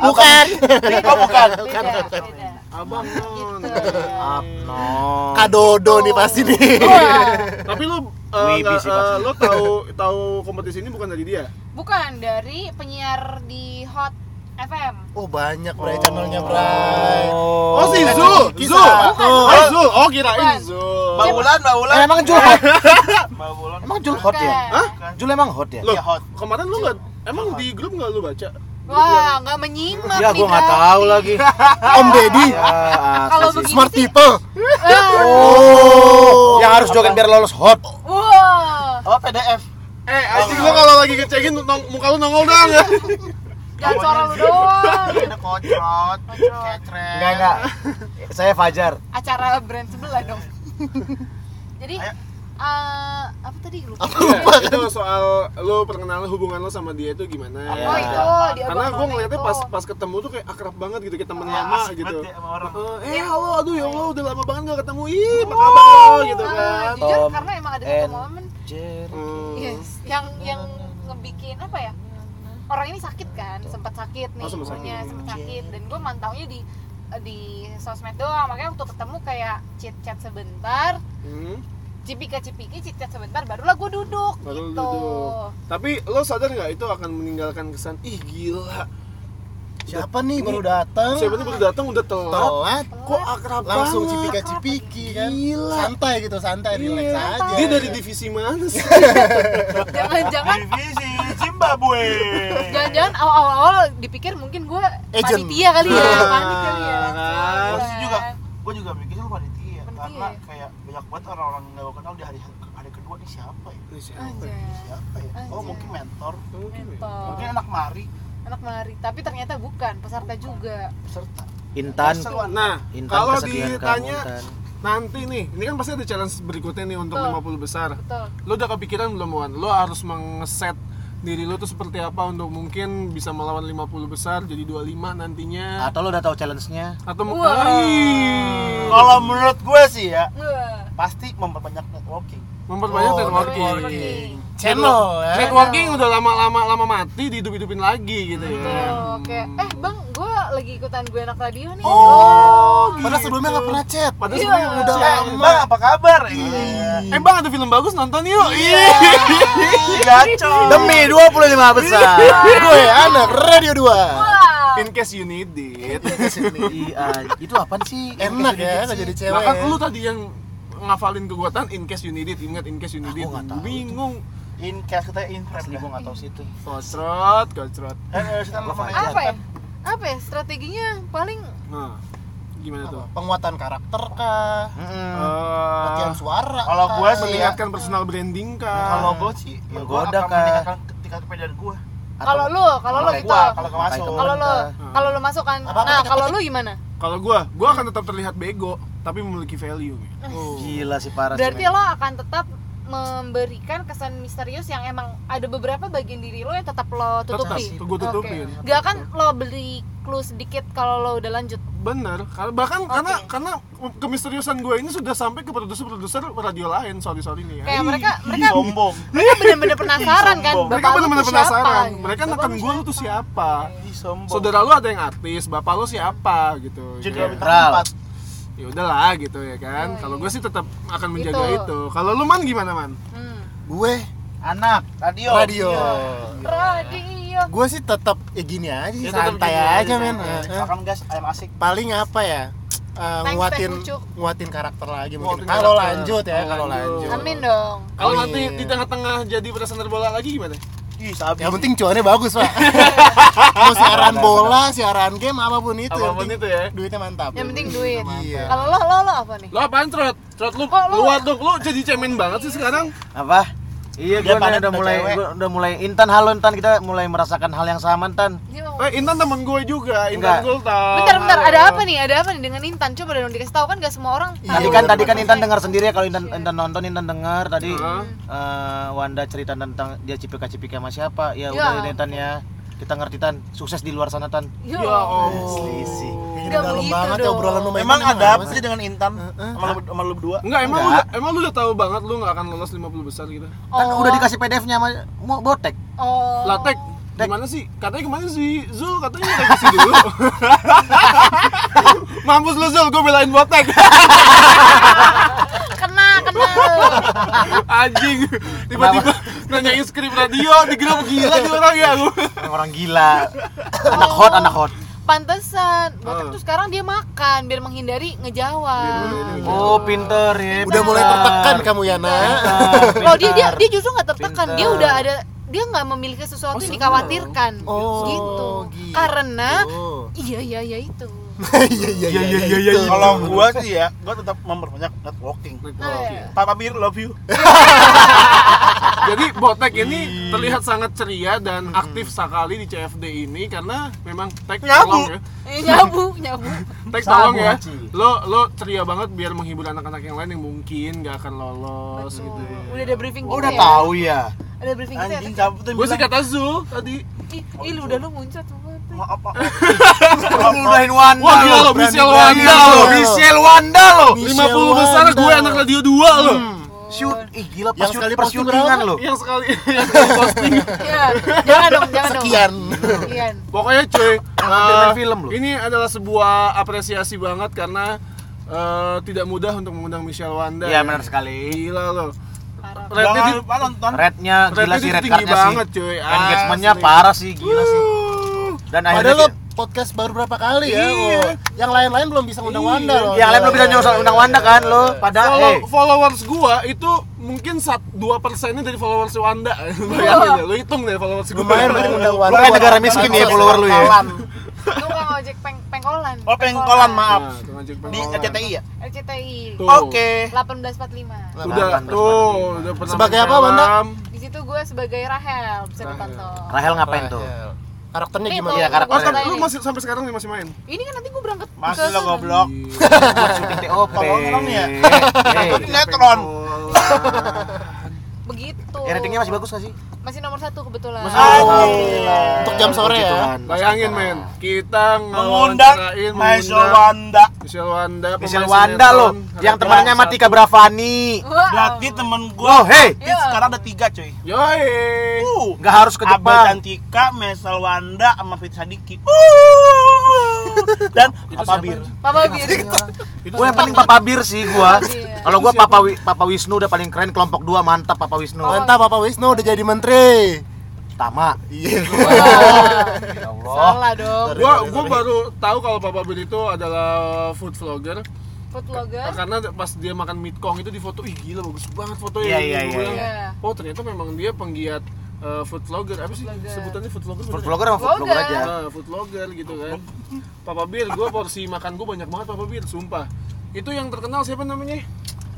Bukan.
beda,
Oh, bukan.
beda, beda.
Abang non.
Gitu.
Abnon.
Kadodo nih pasti nih.
Tapi lu eh,
Wibi
nggak,
sih pasti.
eh, lu tahu tahu kompetisi ini bukan dari dia?
bukan dari penyiar di Hot FM
Oh banyak Bray channelnya Bray.
Oh, si
Bukan,
Zul,
Kisah.
Zul.
Bukan,
Oh,
bukan.
Zul. Oh, kirain
Bukan.
Zul.
Mbak Wulan, Mbak Wulan.
Eh, emang Jul hot?
Mbak Wulan.
Emang Jul hot ya?
Bukan.
Hah?
Jul emang hot ya?
Loh,
Iya, hot.
kemarin lu nggak emang di grup nggak lu baca? Lu bilang,
Wah, nggak menyimak
Ya
nih,
gua nggak
Kak.
tahu lagi.
Om Deddy.
Ya, ah,
Kalau
sih.
begini
Smart
sih,
people.
eh,
Oh.
yang harus joget biar lolos hot.
wah,
Oh, PDF.
Eh, anjing lu kalau lagi ngecengin nong- muka lu nongol dong ya.
jangan suara lu doang.
Ada kocrot,
Kocrot.
kecret.
Enggak enggak. Saya Fajar.
Acara brand sebelah dong. Jadi,
Ayo.
eh, apa tadi lupa?
Iya, itu soal lu perkenalan hubungan lu sama dia itu gimana?
Iya.
Oh itu di
Karena
abang
gue
none
ngeliatnya
itu.
pas pas ketemu tuh kayak akrab banget gitu kayak temen
Iya,
lama
asik
gitu.
banget ya sama orang.
Eh, halo, aduh ya Allah udah lama banget gak ketemu. Ih, apa kabar lo gitu
Ah,
kan.
jujur
Tom
karena emang ada satu
and
momen
Jerry.
Hmm.
yes, yang yang ngebikin apa ya orang ini sakit kan sempat sakit nih
Oh, sempat sakit.
ibunya,
Iya.
sempat sakit dan gue mantaunya di di sosmed doang makanya waktu ketemu kayak chit chat sebentar
Hmm.
cipika cipiki chit chat sebentar barulah gue duduk
Baru lu
gitu
duduk. Tapi lo sadar nggak itu akan meninggalkan kesan ih gila.
Siapa nih baru datang?
Siapa tuh baru datang udah telat.
Telat.
Kok akrab
Langsung
banget?
cipika cipiki kan.
Gila.
Santai gitu, santai, relax
Iya.
aja.
Dia dari divisi mana sih?
jangan-jangan
Divisi Zimbabwe.
jangan-jangan awal-awal dipikir mungkin gue
Agent.
panitia kali ya
Ah,
panik kali ya
kan.
Gue juga, gue juga mikir lu panitia
Panitia.
karena kayak banyak banget orang-orang yang gak gue kenal di hari hari kedua ini siapa ya?
Ini siapa ya?
Anjay.
Siapa ya? Oh
Anjay.
mungkin mentor,
Mungkin ya.
Mentor.
mungkin anak mari
anak mari tapi ternyata bukan peserta juga
peserta.
Intan.
Kesel,
Nah,
Intan
kalau
kesekian kamu,
ditanya
Intan.
nanti nih, ini kan pasti ada challenge berikutnya nih untuk 50
Betul.
besar.
betul
Lo udah kepikiran belum Wan? Lo harus mengeset diri lo tuh seperti apa untuk mungkin bisa melawan 50 besar jadi 25 nantinya
Atau lo udah tahu challenge-nya?
atau
Wah.
Ih,
Kalau menurut gue sih ya,
Wah.
pasti memperbanyak networking.
memperbanyak
Oh,
networking.
networking.
Channel ya.
Networking udah lama-lama lama mati dihidup-hidupin lagi gitu ya.
Betul, oke. Eh bang, gue lagi ikutan gue enak radio nih.
Oh,
Padahal sebelumnya nggak pernah chat.
Padahal
Iya.
sebelumnya udah
Udah
Eh,
lama.
bang apa kabar? Iya.
Eh bang ada film bagus nonton yuk.
Gacor.
Demi 25 besar.
Gue anak Radio 2.
Wah.
Iya. In case you need it.
Iya, itu apa sih?
Enak ya, nggak jadi cewek.
Bahkan lu tadi yang ngafalin kekuatan in case you need it, ingat in case you need it.
nggak tahu
Bingung.
In case kita in prep dah.
atau situ.
Kocrot, kocrot.
Eh, eh, kita nelfon aja.
Apa ya? Apa ya strateginya paling
Nah, gimana tuh?
Penguatan karakter kah?
Eh,
Latihan suara.
Kalau
kah?
gua sih ya,
meningkatkan personal branding
Iya.
kalau
kah?
gue sih, ya gue
Menggoda
akan
kah?
meningkatkan tingkat kepedean gue.
kalau lu, kalau
Kalau
lu gitu.
gua, kalau gua masuk.
Kalau lu, kalau lu masuk kan.
Apa-apa,
Nah,
apa-apa.
kalau lu gimana?
Kalau gua, gua akan tetap terlihat bego tapi memiliki value.
Gila sih parah
Berarti
sih.
lo akan tetap memberikan kesan misterius yang emang ada beberapa bagian diri lo yang tetap lo tutupi.
Tetap, gua tutupin.
Oke. Nggak akan lo beli clue sedikit kalau lo udah lanjut.
Bener, kar- bahkan karena karena kemisteriusan gue ini sudah sampai ke produser-produser radio lain, sorry sorry nih ya.
Kayak mereka mereka
Sombong.
mereka bener-bener penasaran kan.
Sombong.
mereka
bapak lu
benar-benar
tuh siapa,
penasaran.
gitu.
Mereka
Bapak
neken
lu
gue lu tuh siapa?
Ih, sombong.
Saudara lu ada yang artis, bapak lu siapa gitu.
jadi
ya.
Ral.
bintang empat.
ya udahlah gitu ya kan. Kalau gue sih tetap akan menjaga
Iya, Gitu.
itu. Kalau lu man gimana man?
Hmm.
Gue
Anak, radio.
radio.
Radio.
Gue sih tetap ya gini aja sih,
Ya, tetap
santai
gini
aja
aja,
men.
santai.
Eh, eh.
Iya. Makan gas, ayam asik.
Paling apa ya? Eh,
Thanks,
nguatin
Teh Pucuk.
nguatin karakter lagi
Nguatin
mungkin. Kalau
karakter.
lanjut ya,
Kalau
kalau
lanjut.
lanjut.
Amin dong.
Kalau
Amin.
nanti di tengah-tengah jadi presenter bola lagi gimana?
Ih, Ih, sabi.
Yang penting cuannya bagus, Pak. Mau siaran bola, siaran game, apapun itu. yang
Apapun
penting
itu ya.
Duitnya mantap.
Yang penting duit.
Iya.
Kalau lo, lo, lo apa nih?
Lo apaan trot? Trot lu,
Kok lu-
luat dong, lu jadi cemen banget sih sekarang
Apa? Iya,
Dia
gue
padat
udah
tuh
mulai,
cewek.
gua udah mulai. Intan, halo Intan, kita mulai merasakan hal yang sama, Intan.
Gila.
Eh Intan temen gue juga,
Enggak.
Intan Gultom
Bentar, bentar,
Halo.
ada apa nih? Ada apa nih dengan Intan? Coba dong dikasih tahu kan gak semua orang tahu.
Tadi kan,
bener,
tadi kan
bener.
Intan dengar sendiri ya kalau Intan, Intan nonton, Intan dengar tadi.
Heeh.
eh, Wanda cerita tentang dia cipika-cipika sama siapa. Ya,
Ya.
udah Intan ya. Kita ngerti Tan, sukses di luar sana Tan.
Yo.
Ya Allah.
Selisih. Kayaknya
Nggak
udah dalam
begitu
banget ya
gitu dong.
obrolan lu sama
Emang
Intan,
ada apa
Mas?
sih dengan Intan? Sama lu- sama lu berdua?
Enggak, emang
Enggak.
lu, emang lu udah tahu banget lu gak akan lolos 50 besar gitu
Kan udah dikasih PDF-nya sama mau botek.
Oh.
Latek,
Tek.
gimana sih? Katanya kemarin si Zul katanya revisi dulu Mampus lu Zul, gue belain botek
Kena, kena.
Anjing, tiba-tiba nanyain skrip radio, dikira gila di orang ya lu
Orang gila. anak hot, anak hot.
Pantesan. Botak
Ah.
tuh sekarang dia makan biar menghindari ngejawab.
Oh, pinter ya.
Udah mulai tertekan kamu ya, Nak.
Kalau Oh, dia dia dia justru nggak tertekan. Dia
Pintar.
udah ada dia nggak memiliki sesuatu yang dikhawatirkan.
Oh,
gitu.
gitu.
Karena
Oh.
iya iya iya itu.
Iya iya iya iya.
iya,
itu.
Kalau gua sih ya, gua tetap memperbanyak networking.
Oke.
Papa Bir, love you.
Jadi botek
Hmm.
ini terlihat sangat ceria dan aktif sekali di CFD ini karena memang tek tolong ya.
Eh, nyabu, nyabu.
Tek tolong ya.
Sabu, Ci.
Lo lo ceria banget biar menghibur anak-anak yang lain yang mungkin gak akan lolos gitu.
Udah ada briefing
Oh, udah
gitu ya?
tahu ya.
Ada briefing gitu ya?
Anjing cabut tuh
Gue sih
bilang,
kata Zul tadi.
Ih, ih, udah lu muncrat banget.
Maaf, maaf.
Udahin Wanda.
Wah gila lo
Iya, berani-
Michelle
berani
Wanda lo.
lo.
Michelle Wanda lo.
Michelle
50 besar
Wanda. Hmm.
gue anak radio 2 lo.
Shoot, ih gila
Yang
pas shoot,
sekali
pas
posting
syutingan
berapa?
lo.
Yang sekali yang sekali posting.
Ya, jangan dong, jangan dong.
Sekian.
Sekian.
Pokoknya cuy,
Hampir
eh,
main film loh.
Ini adalah sebuah apresiasi banget karena eh, tidak mudah untuk mengundang Michelle Wanda. ya.
Iya benar sekali.
Gila lo.
Parah.
Rate
Jangan
di-
lupa nonton.
Rednya gila
Rate-nya
sih
tuh
red
tinggi
cardnya sih.
banget, cuy.
Ah,
Engagementnya
Asli.
parah sih, gila sih. Dan
Padahal
akhirnya
lo podcast baru berapa kali ya?
Iya.
Oh, Yang lain-lain belum bisa ngundang
Iya.
Wanda loh.
yang lain lo bisa nyusul undang Wanda kan lo. Padahal
Follow,
eh,
followers gua itu mungkin sat dua persennya dari followers Wanda. Bayangin ya, lu hitung deh followers gua. Nah,
Lumayan berarti ngundang Wanda.
Lu kayak negara
Wanda-
miskin ya,
Wanda-
follower lu ya.
Kalan.
Lu nggak ngojek peng pengkolan.
Oh, pengkolan maaf.
Nah, tukang ojek
Di
pengolahan.
RCTI ya?
RCTI.
Tuh.
Oke.
1845.
Udah
Lapan,
tuh, udah pernah
Sebagai apa,
mencelam.
Wanda?
Di situ gue sebagai Rahel bisa ditonton.
Rahel ngapain tuh?
Rahel. Iya. Karakternya
Nih,
gimana?
Iya,
Oh,
karakter.
tapi lu masih sampai sekarang nih masih main.
Ini kan nanti gue berangkat
Masih lo
sana.
goblok.
Buat syuting TOP.
Tolong dong ya.
Eh,
Itu netron.
Begitu.
eh, ratingnya masih bagus gak sih?
Masih nomor satu kebetulan.
Masih
Ah,
nomor satu.
Anjing.
Untuk jam sore
Puji
ya.
Tuhan, Mas
Bayangin
Kita.
men, kita
Mengundang
ngewawancarain,
Michael
mengundang
Wanda.
Michelle Wanda, pemain
Michelle Wanda
sinetron,
lo, yang
Harga
temannya sama
satu.
Tika Bravani.
Wow.
Berarti temen gua
Oh, hey,
Dit, sekarang ada tiga cuy.
Yoi.
Iya. Uh,
nggak harus ke
Abel
Jepang.
Cantika, Mesel Wanda, sama Fit Sadiki. Uh, dan Papa Bir.
Papa Bir.
Itu
Gue yang paling Papa Bir sih gua.
Iya.
Kalau gua Papa Wi- Papa Wisnu udah paling keren kelompok 2 mantap Papa Wisnu.
Mantap Bapak Wisnu udah jadi menteri.
Tama.
Iya.
Ya Allah.
Salah dong.
gua gua baru tahu kalau Papa Bill itu adalah food vlogger
Food vlogger.
karena pas dia makan meat kong itu di foto ih gila bagus banget fotonya Gitu
Iya,
Gua
iya, iya,
bilang,
iya.
oh ternyata memang dia penggiat eh, food vlogger apa sih sebutannya food vlogger
Food
bener ya?
vlogger sama food vlogger
Vlogger.
aja.
Ah, food vlogger gitu kan Papa Bill gua porsi makan gua banyak banget Papa Bill sumpah itu yang terkenal siapa namanya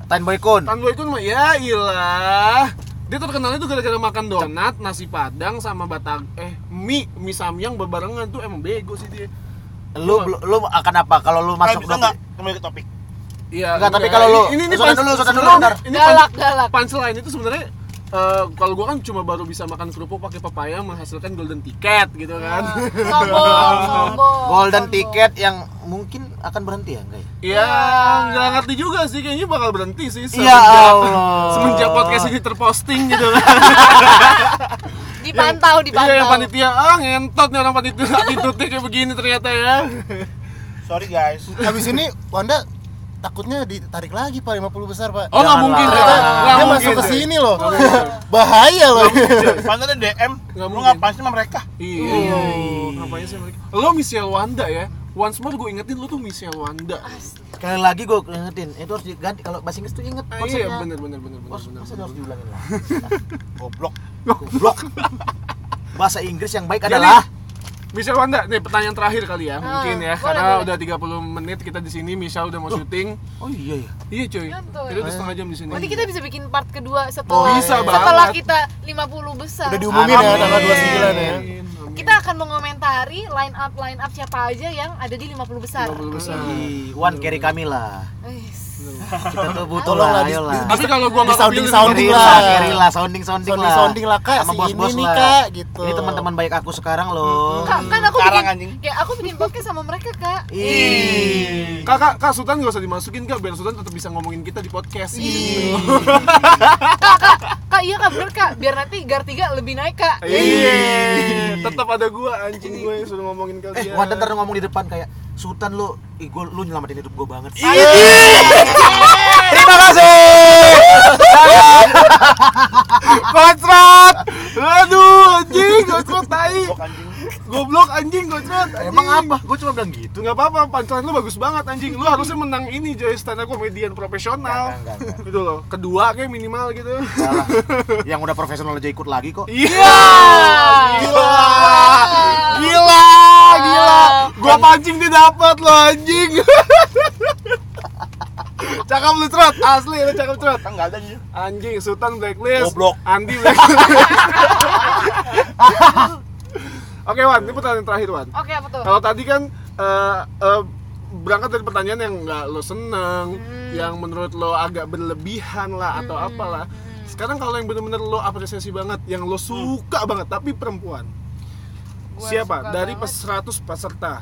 Tan Boy Kun.
Tan Boy Kun mah ya ilah dia terkenalnya tuh gara-gara makan donat, nasi padang, sama batag eh mie mie samyang berbarengan tuh emang bego sih dia.
Lu bel- lu akan apa kalau lu
Kalian
masuk
Eh, bisa
dulu?
nggak kembali ke topik?
Iya.
Enggak, tapi kalau lu-
ini ini
sosokan
punch-
dulu, sosokan dulu,
sebenarnya-
bentar.
Ini
Galak,
punch-
galak.
punchline itu sebenarnya eh, kalau gua kan cuma baru bisa makan kerupuk pakai pepaya menghasilkan golden ticket gitu
Iya.
kan.
Sombong, sombong.
Golden
sombong.
ticket yang mungkin akan berhenti ya, enggak ya?
Iya, nggak ngerti juga sih kayaknya bakal berhenti sih
Ya Allah.
semenjak podcast
Iya.
ini terposting gitu kan.
Dipantau, dipantau.
Iya, yang panitia ah ngentot nih orang panitia attitude kayak begini ternyata ya.
Sorry guys.
Habis ini Wanda takutnya ditarik lagi Pak 50 besar Pak.
Oh, nggak
Janganlah.
mungkin
Ternyata
ternyata. Nggak
dia
mungkin,
masuk ke
cuy.
sini loh.
Nggak mungkin.
Bahaya loh.
Pantas ada DM.
Nggak
Lu
mungkin.
ngapain sih sama mereka?
Iya. Ngapain sih mereka? Lo Michelle Wanda ya. Once more gue ingetin lo tuh Michelle Wanda.
Sekali lagi gua ingetin, itu harus diganti kalau bahasa Inggris tuh inget
Ah,
konsepnya.
iya, bener bener bener bener.
Konsepnya
bener.
harus diulangin lah.
Goblok.
Goblok. bahasa Inggris yang
Iya,
baik adalah
Michelle Wanda, nih pertanyaan terakhir kali ya,
Ah,
mungkin ya,
boleh,
karena
boleh.
udah 30 menit kita di sini, Michelle udah mau syuting.
oh iya ya
Iya cuy,
Iya, tuh.
jadi udah setengah jam di sini.
Nanti kita bisa bikin part kedua
Oh,
setelah
bisa
setelah
banget.
kita 50 besar.
Udah diumumin ya
Amin.
tanggal 29 ya.
Amin, amin.
Kita akan mengomentari line up line up siapa aja yang ada di 50 besar.
50 besar.
One carry kami lah
Wis.
kita tuh butuh
Tolong
lah
lah,
ayo lah
Tapi kalau gua nggak
Sounding-
kepilih,
sounding
sounding
lah.
lah carry lah sounding sounding lah
Sounding-sounding lah, Kak,
Sama
si
bos-bos
ini nih,
lah.
Kak, gitu.
ini teman-teman baik aku sekarang loh
Kak, kan aku
Sekarang, anjing.
bikin, kayak aku bikin podcast sama mereka kak.
Iya.
ih
Kak, kak, kak Sultan gak usah dimasukin kak, biar Sultan tetap bisa ngomongin kita di podcast. Gitu.
Kak, kak, kak iya kak bener kak. Biar nanti gar 3 lebih naik kak.
Iya, tetap Iya, ada gua anjing gue yang sudah ngomongin kalian.
eh Wanda ntar ngomong di depan kayak Sultan lu ih gua lu nyelamatin hidup gua banget
Terima kasih. Kocrot. Aduh, anjing, kocrot tai. Goblok anjing, kocrot.
emang apa gua cuma bilang gitu
Itu nggak apa-apa, pancelan lu bagus banget anjing. Lu harusnya menang ini Joy stand up comedian profesional.
Nggak, nggak, nggak,
Gitu loh, kedua kayak minimal gitu.
salah yang udah profesional aja ikut lagi kok
Iya.
Ah.
Gila. Iya. Gila, gila. Gua pancing dia dapat loh anjing. Cakap lu trot, asli lu cakap trot.
Kan nggak ada nih.
Anjing, Sultan blacklist.
Goblok.
Andi blacklist. Oke Wan, ini pertanyaan terakhir Wan.
Oke apa tuh?
Kalau tadi kan eh, eh, berangkat dari pertanyaan yang nggak lo seneng, yang menurut lo agak berlebihan lah atau apalah. Sekarang kalau yang bener-bener lo apresiasi banget, yang lo suka banget, tapi perempuan.
Gua
Siapa?
suka
Dari
banget.
pes 100 peserta.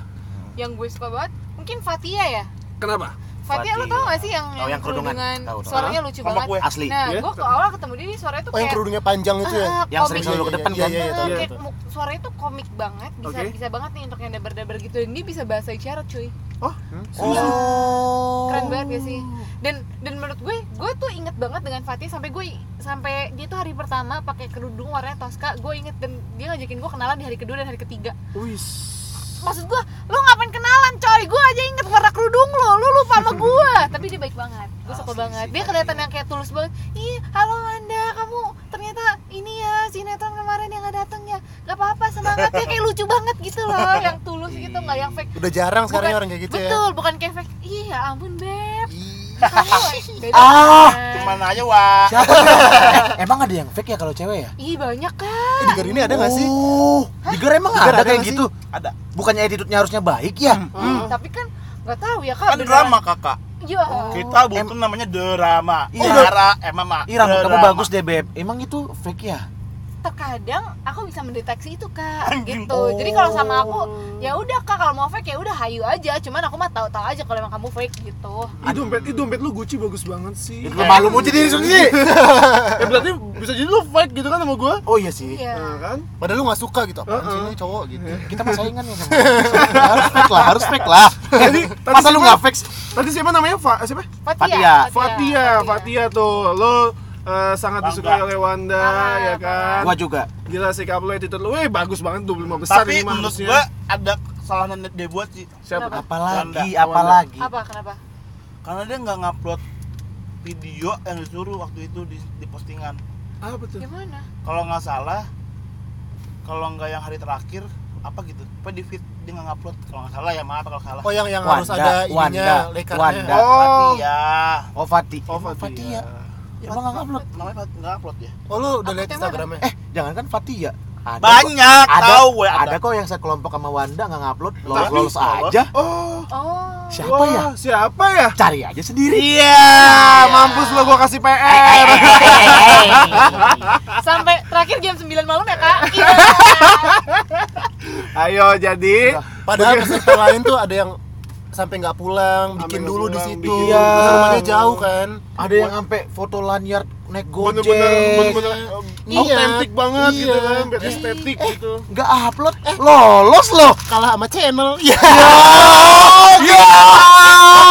Yang gue suka banget mungkin Fatia ya.
Kenapa?
Fatia lo
Fathia.
tau gak sih yang,
Oh, yang kerudungan. Tahu, tahu.
suaranya lucu
Kelompok
banget.
gue.
Asli.
Nah,
Iya.
gue ke awal ketemu dia, dia suaranya tuh
Oh yang
kayak
kerudungnya panjang itu
Ah,
ya?
Yang
komik.
sering selalu ke depan
Iya,
kan
iya, iya,
Heeh,
tahu,
kayak
tahu.
mu- suaranya tuh komik banget, bisa
Oke.
bisa banget nih untuk yang dabar-dabar gitu dan dia bisa bahasa isyarat cuy. Iya.
Oh,
Hmm?
oh
Keren banget gak sih? Dan dan menurut gue, gue tuh inget banget dengan Fatih sampai gue sampai dia tuh hari pertama pakai kerudung warnanya Tosca, gue inget dan dia ngajakin gue kenalan di hari kedua dan hari ketiga.
wis.
Maksud gue, lo ngapain kenalan coy? Gue aja inget warna kerudung lo, lo lupa sama gue. Tapi dia baik banget, gue suka
Asli
banget.
Oh, sih,
Dia
Fatih.
kelihatan yang kayak tulus banget. Ih, halo Wanda, kamu ternyata ini ya sinetron kemarin yang gak dateng ya. Gak apa-apa, semangat ya kayak lucu banget gitu loh, yang tulus gitu, nggak yang fake.
Udah jarang sekarang
Bukan-
orang kayak gitu ya.
Betul, bukan kayak fake. Iya, ampun beb.
Ih,
Kamu beda
Ah.
banget.
Cuman aja, Wak.
siapa Eh, emang ada yang fake ya kalau cewek ya
Ih, banyak kan.
Di Garini Iya, ada nggak sih?
Oh, Diger emang
Diger
ada,
ada
kayak
nggak
gitu.
Ada.
Bukannya attitude-nya harusnya baik ya?
Tapi kan nggak tahu ya kak.
Hmm. Kan
beneran.
drama, Kakak.
Iya.
Kita butuh namanya drama.
Iya.
Cara emang mak.
Ih, rambut kamu
drama.
bagus deh, Beb. Emang itu fake ya?
terkadang aku bisa mendeteksi itu kak
Anjing.
gitu jadi kalau sama aku ya udah kak kalau mau fake ya udah hayu aja cuman aku mah tahu-tahu aja kalau emang kamu fake gitu
Ih, dompet, ih, dompet lu Gucci bagus banget sih.
Lu malu muji diri sendiri.
Eh, berarti bisa jadi lo fight gitu kan sama gua? Uh-uh.
Oh iya sih.
Gitu.
Nah,
iya
kan?
Padahal lu nggak suka gitu, apaan sih
Heeh.
ini cowok gitu.
Iya.
Kita mah saingan ya sama. harus fake lah, harus fake lah.
Jadi, tadi
Masa lu
siapa-
nggak fake? sih?
Tadi siapa namanya? Fa eh, siapa?
Fatia.
Fatia, Fatia tuh lo eh, sangat
Bangga.
disukai oleh Wanda
Parah,
ya kan.
Gua juga.
Gila sikap lo attitude lo, weh bagus banget 25 besar ini
Tapi
mah
menurut
harusnya.
gua ada kesalahan yang dia buat sih.
siapa? tuh?
Apalagi,
Wanda.
apalagi.
apa kenapa
Karena dia nggak ngupload video yang disuruh waktu itu di, di postingan.
Apa tuh?
gimana
Kalau nggak salah, kalau nggak yang hari terakhir apa gitu, apa di feed dia nggak ngupload kalau nggak salah ya maaf kalau salah.
Oh yang yang harus
Wanda,
ada ininya,
Wanda, Wanda.
lekarnya.
Oh.
Tapi ya,
Oh, Fati.
Oh, Fatia.
Ya, Emang nggak upload.
namanya Fat- nggak upload ya.
Oh lu udah liat Instagramnya?
Eh, jangan kan Fatia. Ada
Banyak,
kok- ada,
tahu gue
ada.
ada.
kok yang sekelompok sama Wanda nggak ngupload,
Tapi-
lolos-lolos aja.
Oh.
oh
Siapa
wah,
ya? Ah,
Siapa ya?
Cari aja sendiri.
Iya, mampus lo gua kasih PR.
sampai terakhir jam 9 malam ya kak iya
Ayo jadi
Padahal peserta lain tuh ada yang sampai nggak pulang, bikin
nggak
dulu di
pulang,
situ.
bikin.
Terus Rumahnya jauh kan?
Ada yang sampai foto lanyard naik gojek.
bener-bener bener-bener
Iya.
autentik banget gitu
Iya.
kan, biar estetik gitu.
nggak upload Eh, lolos loh
Kalah sama channel. Ya.
ya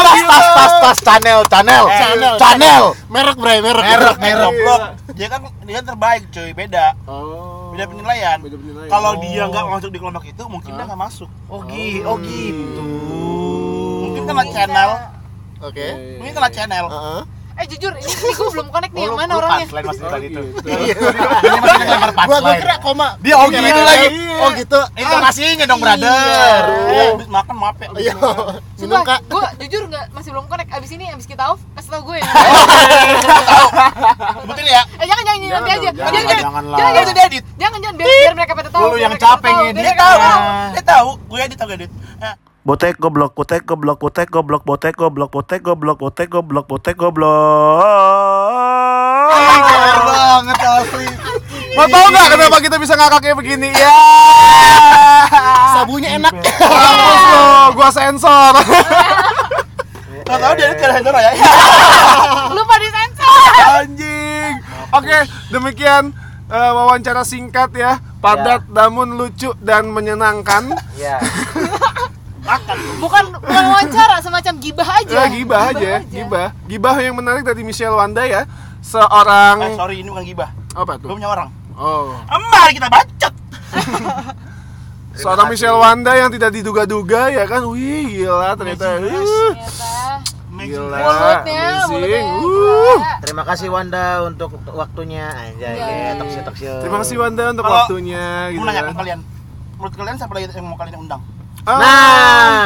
tas tas tas tas channel channel
Channel,
channel
Merek bray, merek.
Merek,
Kayak
merek.
goblok. Dia kan dia kan terbaik cuy, beda.
Oh.
Beda penilaian.
Beda penilaian.
Kalau
Oh.
dia nggak masuk di kelompok itu, mungkin dia nggak masuk.
oh, Iya. gi- oh gitu
Mungkin karena channel,
Oke.
Oh,
mungkin karena channel.
Heeh.
eh jujur ini, ini gue belum connect nih
Oh,
yang
lu-
mana
lu
orangnya
punchline maksudnya tadi
gitu.
itu.
Iya.
Ini masih lempar
gua gua
punchline.
kira koma
Dia oh gini lagi.
oh gitu
Intonasinya dong,
Iya.
brother.
Eh, habis makan maaf ya.
iya minum
Sumpah,
kak
gue jujur nggak masih belum connect abis ini abis kita off kasih tau gue ya
Betul ya?
eh jangan jangan, jangan nanti aja
jangan,
jangan jangan
janganlah.
jangan
Itu
jangan
dia edit.
jangan jangan biar, biar mereka pada tahu
Lu
biar
yang
mereka pada
capek
tahu,
ngedit.
biar mereka pada tahu.
Nah.
Dia tahu, gue edit tau gak edit.
Iya.
Eh,
Botek goblok, botek goblok, botek goblok, botek goblok, botek goblok, botek goblok, botek goblok.
Keren banget asli.
Mau tau nggak kenapa kita bisa ngakak kayak begini? Ya.
Ah. sabunya enak
Mampus lo, gua sensor.
Gak tau dia edit gak ada handphone ya.
lupa disensor
Anjing. Oke, demikian eh, wawancara singkat ya. Padat, namun lucu dan menyenangkan.
Iya.
bukan bukan wawancara semacam gibah aja
Ya, gibah aja, gibah. Gibah yang menarik dari Michelle Wanda ya. Seorang
Eh, sorry ini bukan gibah.
apa
Gue
tuh?
punya orang.
Oh.
Mari kita bacot.
Seorang Michelle Wanda yang tidak diduga-duga ya kan. Wih, gila ternyata. Wih,
Ternyata.
Gila.
Iya, mulutnya mulutnya
Amazing.
gila.
Uh.
Terima kasih Wanda untuk waktunya. Anjay, ya,
Iya.
toksil toksil.
Terima kasih Wanda untuk
Kalau-
waktunya
Gue
gitu.
menanyakan
kan.
kalian. Menurut kalian siapa lagi yang mau kalian undang?
Ah.
Nah,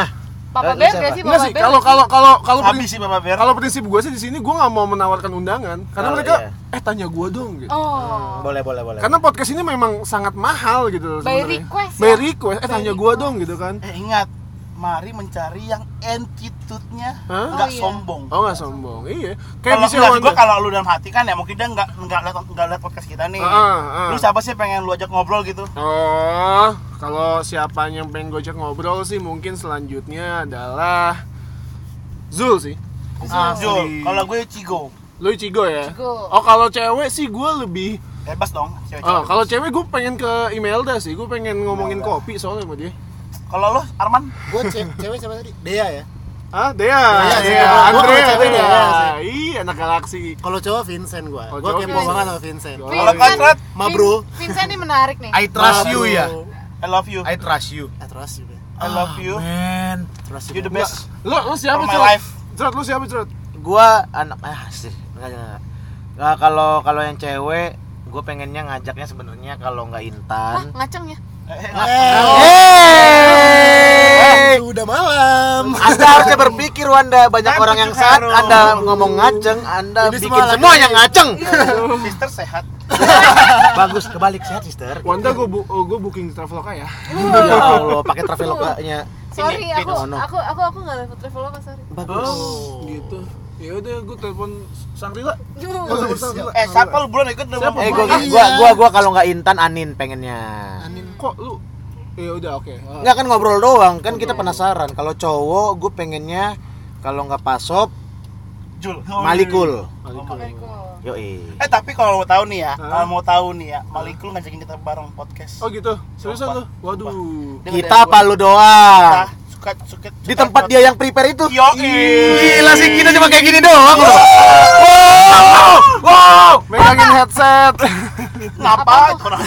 Papa
Lu
Beb
siapa?
gak sih
Enggak
Papa
sih,
Beb?
kalau kalau kalau kalau
Habis sih Bapak Ber.
kalau prinsip gue sih di sini gue nggak mau menawarkan undangan karena
Oh,
mereka
iya.
eh tanya gue dong gitu.
Oh.
boleh boleh boleh.
Karena podcast ini memang sangat mahal gitu.
By
sebenarnya.
request ya?
By request, eh
By
tanya gue
request.
dong gitu kan.
Eh ingat, mari mencari yang attitude-nya
Hah?
nggak
Oh, iya.
sombong.
Oh nggak sombong, iya. Kayak
Kalau
bisa
enggak, gua kalau lu dalam hati kan ya mungkin dia nggak nggak liat nggak liat podcast kita nih.
Heeh, heeh.
Lu siapa sih yang pengen lu ajak ngobrol gitu?
ah, Oh, kalau siapa yang pengen gojek ngobrol sih mungkin selanjutnya adalah Zul sih.
Ah, Jul, kalau gue Cigo,
Lu Cigo ya?
Cigo.
Oh kalau cewek sih gue lebih
bebas dong. cewek-cewek.
Ah, kalau cewek gue pengen ke Imelda sih, gue pengen ngomongin kopi soalnya sama dia.
Kalau lu Arman,
gua ce- cewek siapa tadi dea ya
Ah, Dea,
Iya, sih,
Dea,
gua- gua
Andre,
kalau cewek
Dea.
Dea sih.
Iya, anak galaksi.
kalau Oh, cowok Vincent gua
Kalau
gua
cowok
kepo
Vincent.
banget sama Vincent
Yo.
kalau
Vincent.
kontrat,
Iya.
Ma, bro.
Vin- Vincent ini menarik nih.
I trust you
Aduh.
ya.
I love you,
I trust you.
I Eh, trust you man.
I love you,
Man,
trust
you
you
the
man.
best.
Lu, lu siapa,
For my
Cerut?
life.
Cerut, lu siapa, Cerut?
gua anak ah sih. Enggak, enggak, enggak. Nah, kalau kalau yang cewek gue pengennya ngajaknya sebenarnya kalau nggak
Hah,
Intan
ngaceng ya?
Eh, udah malam
Anda harusnya berpikir Wanda banyak
Kan
orang yang
pucuk
saat
harum.
Anda ngomong ngaceng Anda
Jadi
bikin
semua laki-
semua yang ngaceng
Sister sehat.
bagus kebalik sehat sister
Wanda gue bu gue booking traveloka ya.
ya Allah pakai travelokanya
Sorry,
Ini,
aku,
Vin.
aku aku aku nggak level travel apa sorry.
bagus
Oh, gitu. Ya udah gue telepon Sangrila.
Juh.
Eh, siapa lu bulan ikut dong?
Siapa?
eh gua
Iya.
gua gua, gua kalau nggak Intan Anin pengennya
Kok lu? Ya udah oke. Ah.
nggak kan ngobrol doang kan kita penasaran kalau cowok gue pengennya kalau nggak pasop
Oh, Jul.
Malikul
Balik.
yoi
Eh tapi kalau mau tahu nih ya,
Hah?
kalau mau tahu nih ya, Malikul ngajakin kita bareng podcast.
Oh gitu. Seriusan lu? Waduh.
Dia
kita
ngajakin gua.
apa lu doang
Kita suka suka
iya. di tempat dia yang prepare itu
Yo, eh,
gila sih kita cuma kayak gini doang loh
Wow, megangin headset.
Ngapa? Orang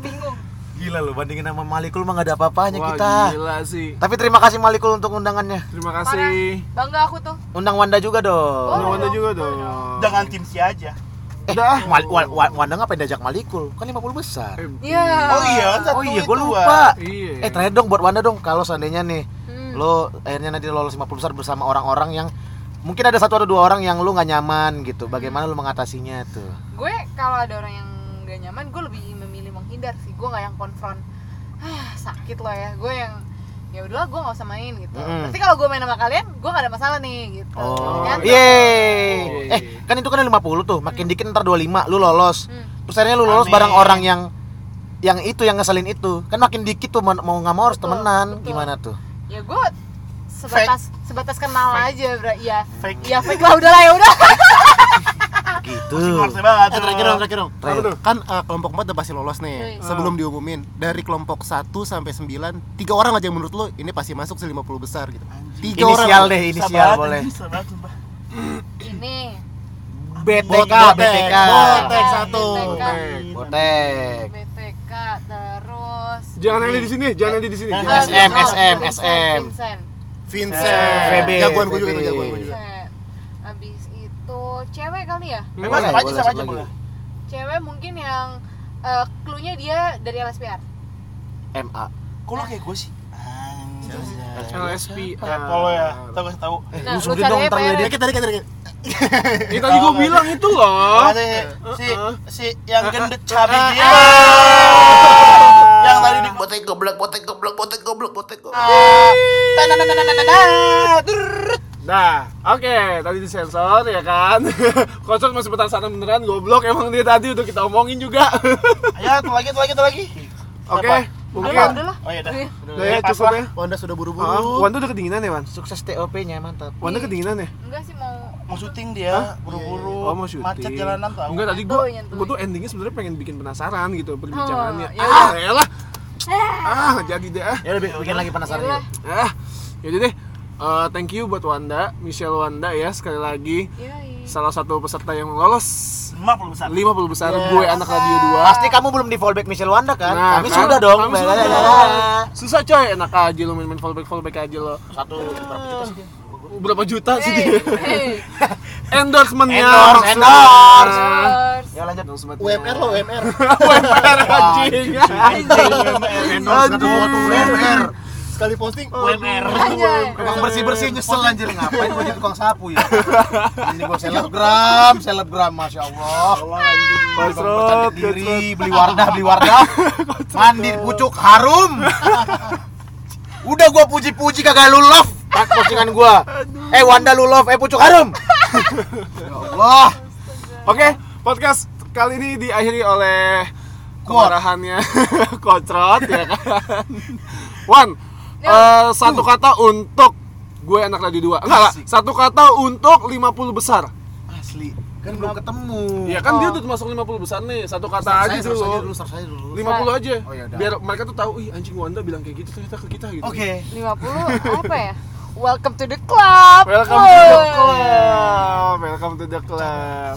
Bingung.
gila lu bandingin sama Malikul mah nggak ada apa-apanya
Wah,
kita
gila sih.
tapi terima kasih Malikul untuk undangannya
Terima
Parah.
kasih.
Bangga aku tuh.
undang Wanda juga dong
Boleh
Sama Wanda
dong,
juga
boleh
dong.
Jangan tim si aja.
Udah.
Mal- Wa- Wa- Wanda ngapain diajak Malikul? Kan 50 besar.
Eh,
Iya.
Oh iya, kan satu
Oh iya,
itu,
gue
Wak.
lupa.
Iya.
Eh terakhir dong buat Wanda dong, kalau seandainya nih
Hmm.
lo akhirnya nanti lolos 50 besar bersama orang-orang yang mungkin ada satu atau dua orang yang lu nggak nyaman gitu. Bagaimana lu mengatasinya tuh?
Gue kalau ada orang yang gak nyaman, gue lebih memilih menghindar sih. Gue nggak yang konfront. Ah, sakit loh ya. Gue yang ya udahlah gue nggak usah main gitu.
Mm-mm.
Berarti kalau gue main sama kalian, gue gak ada masalah nih gitu.
Oh,
Nyantai.
yeay.
Oh.
Eh, kan itu kan ada 50 tuh, makin dikit ntar 25 lu lolos.
Hmm.
Terus akhirnya lu lolos
Amin.
bareng orang yang yang itu yang ngeselin itu. Kan makin dikit tuh mau mau nggak mau harus
Betul,
temenan.
betul.
Gimana tuh?
ya gue sebatas sebatas kenal aja bro ya
Fake.
ya fake lah udahlah ya udah Ah.
Gitu.
Ngerti banget.
Eh, terakhir dong, terakhir dong.
Terakhir.
Apa tuh? Kan eh, kelompok 4 udah pasti lolos
Iya.
nih. Sebelum diumumin, dari kelompok 1 sampai 9, tiga orang aja yang menurut lo ini pasti masuk si 50 besar gitu. Tiga
Inisial
orang.
deh,
Sabar,
inisial ya, boleh.
sabar, sabar.
ini Iya,
BTK,
Botek,
BTK.
botek satu.
BTK.
Iya.
Botek.
BTK terus
Jangan ada di sini, jangan ada di sini.
Jangan.
Jangan.
SM,
Oh,
SM,
Vincent,
SM.
Vincent,
Vincent.
Eh, VB,
Jagoan gue juga
VB.
Nah,
itu jagoan gue juga.
Vincent. habis itu cewek kali ya
Hmm.
Bebas
Boleh,
apa aja
boleh,
sama
satu
aja
lagi.
boleh.
cewek mungkin yang eh, clue-nya dia dari LSPR
MA
Kok lo kayak gue sih? Anjay.
LSP.
Kepo lo ya, tau gak tau
nah
Eh, lu
lu
sulit
cari
dong,
apa
ntar
ya
lu
Dikit, dikit, dikit.
Ini tadi gue bilang itu loh.
Ada ya, si si yang gendut cabe
Ah,
dia. Yang tadi di botek goblok goblok goblok goblok goblok goblok.
Nah, oke, tadi disensor ya kan. Kocok masih penasaran beneran goblok emang dia tadi udah kita omongin juga.
Ayo, tuh lagi, tuh lagi, tuh lagi.
Oke,
Apa?
Apa,
mungkin.
udah lah
Oh iya dah.
Udah.
Udah ya, cukup ya.
Wanda sudah buru-buru.
Ah, Wanda udah kedinginan ya, Wan?
sukses TOP-nya mantap.
Wanda kedinginan ya?
enggak sih mau
Mau syuting dia, buru-buru.
Oh, mau syuting.
Macet jalanan tau.
Enggak, tadi gua
Nyentuhin,
gua tuh endingnya sebenarnya pengen bikin penasaran gitu perbincangannya.
Oh, Eh. ya
ah, elah. Ah, nggak jadi deh. ah.
Ya udah bikin lagi penasaran
Yalah.
yuk.
Ah, jadi deh. Eh, thank you buat Wanda, Michelle Wanda ya sekali lagi
Yoi.
salah satu peserta yang lolos
50 besar.
50 besar gue anak radio 2
Pasti kamu belum di fallback Michelle Wanda kan? kami sudah dong.
Kami sudah. Susah coy, enak aja lo main-main fallback fallback aja lo.
Satu berapa juta sih? dia?
Berapa juta sih
Hey,
dia?
hey.
Endorsementnya.
Endorse,
Nah. maksudnya.
endorse.
Endorse.
Ya lanjut.
Endorsementnya.
UMR lo, UMR.
UMR anjing.
Endorse satu foto UMR.
Sekali posting,
UMR.
Anjay.
Emang bersih-bersih nyesel anjir ngapain gua jadi tukang sapu ya. Ini gua selebgram, selebgram masya Allah. Bercandik
Kosrot,
diri, beli wardah, beli wardah. Mandi pucuk harum. Udah gua puji-puji kagak lu love. Tak postingan gua. Eh Wanda lu love, eh pucuk harum. ya Allah.
Oke, podcast kali ini diakhiri oleh
Kuat.
kemarahannya kocrot ya kan. Wan, eh, satu kata untuk gue anak radio 2. Enggak, enggak. satu kata untuk 50 besar.
Asli, kan belum ketemu.
Iya kan dia udah masuk 50 besar nih. Satu kata aja
Saya
dulu.
dulu, start saya dulu.
50 aja.
Oh, ya udah.
Biar mereka tuh tahu, ih anjing Wanda bilang kayak gitu ternyata ke kita gitu.
Oke.
50 apa ya? Welcome to the club.
Welcome to the club. Welcome to the club.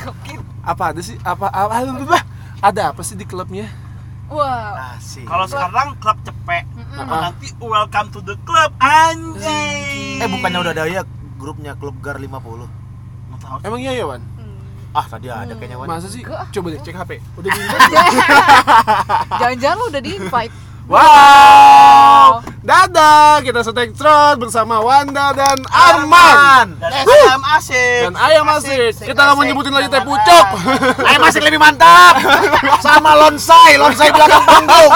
Apa ada sih? Apa apa apa- apa- apa? Ada apa sih di klubnya?
Wow.
Asik.
Kalau sekarang klub cepek,
Ah.
nanti welcome to the club anjing.
Eh bukannya udah ada ya grupnya Klub Gar 50.
Nggak tahu.
Emang iya ya, Wan?
Ah, tadi ada kayaknya Wan.
Masa sih? Coba deh cek HP. Udah di
Jangan-jangan lu udah di invite.
Wow. Dadah, kita setek trot bersama Wanda dan Arman.
Dan ayam asik.
Dan ayam asik. Kita nggak mau nyebutin lagi teh
jangan
pucuk.
Ayo masih lebih mantap. Sama Lonsai, Lonsai belakang panggung.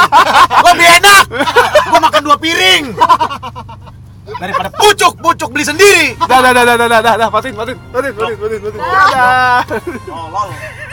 Gua lebih enak. Gua makan dua piring. Daripada pucuk, pucuk beli sendiri.
Oh,
Dadah, dadah, dadah, dadah, dadah, patin, patin, patin, patin, patin, patin. Dadah.
Tolol.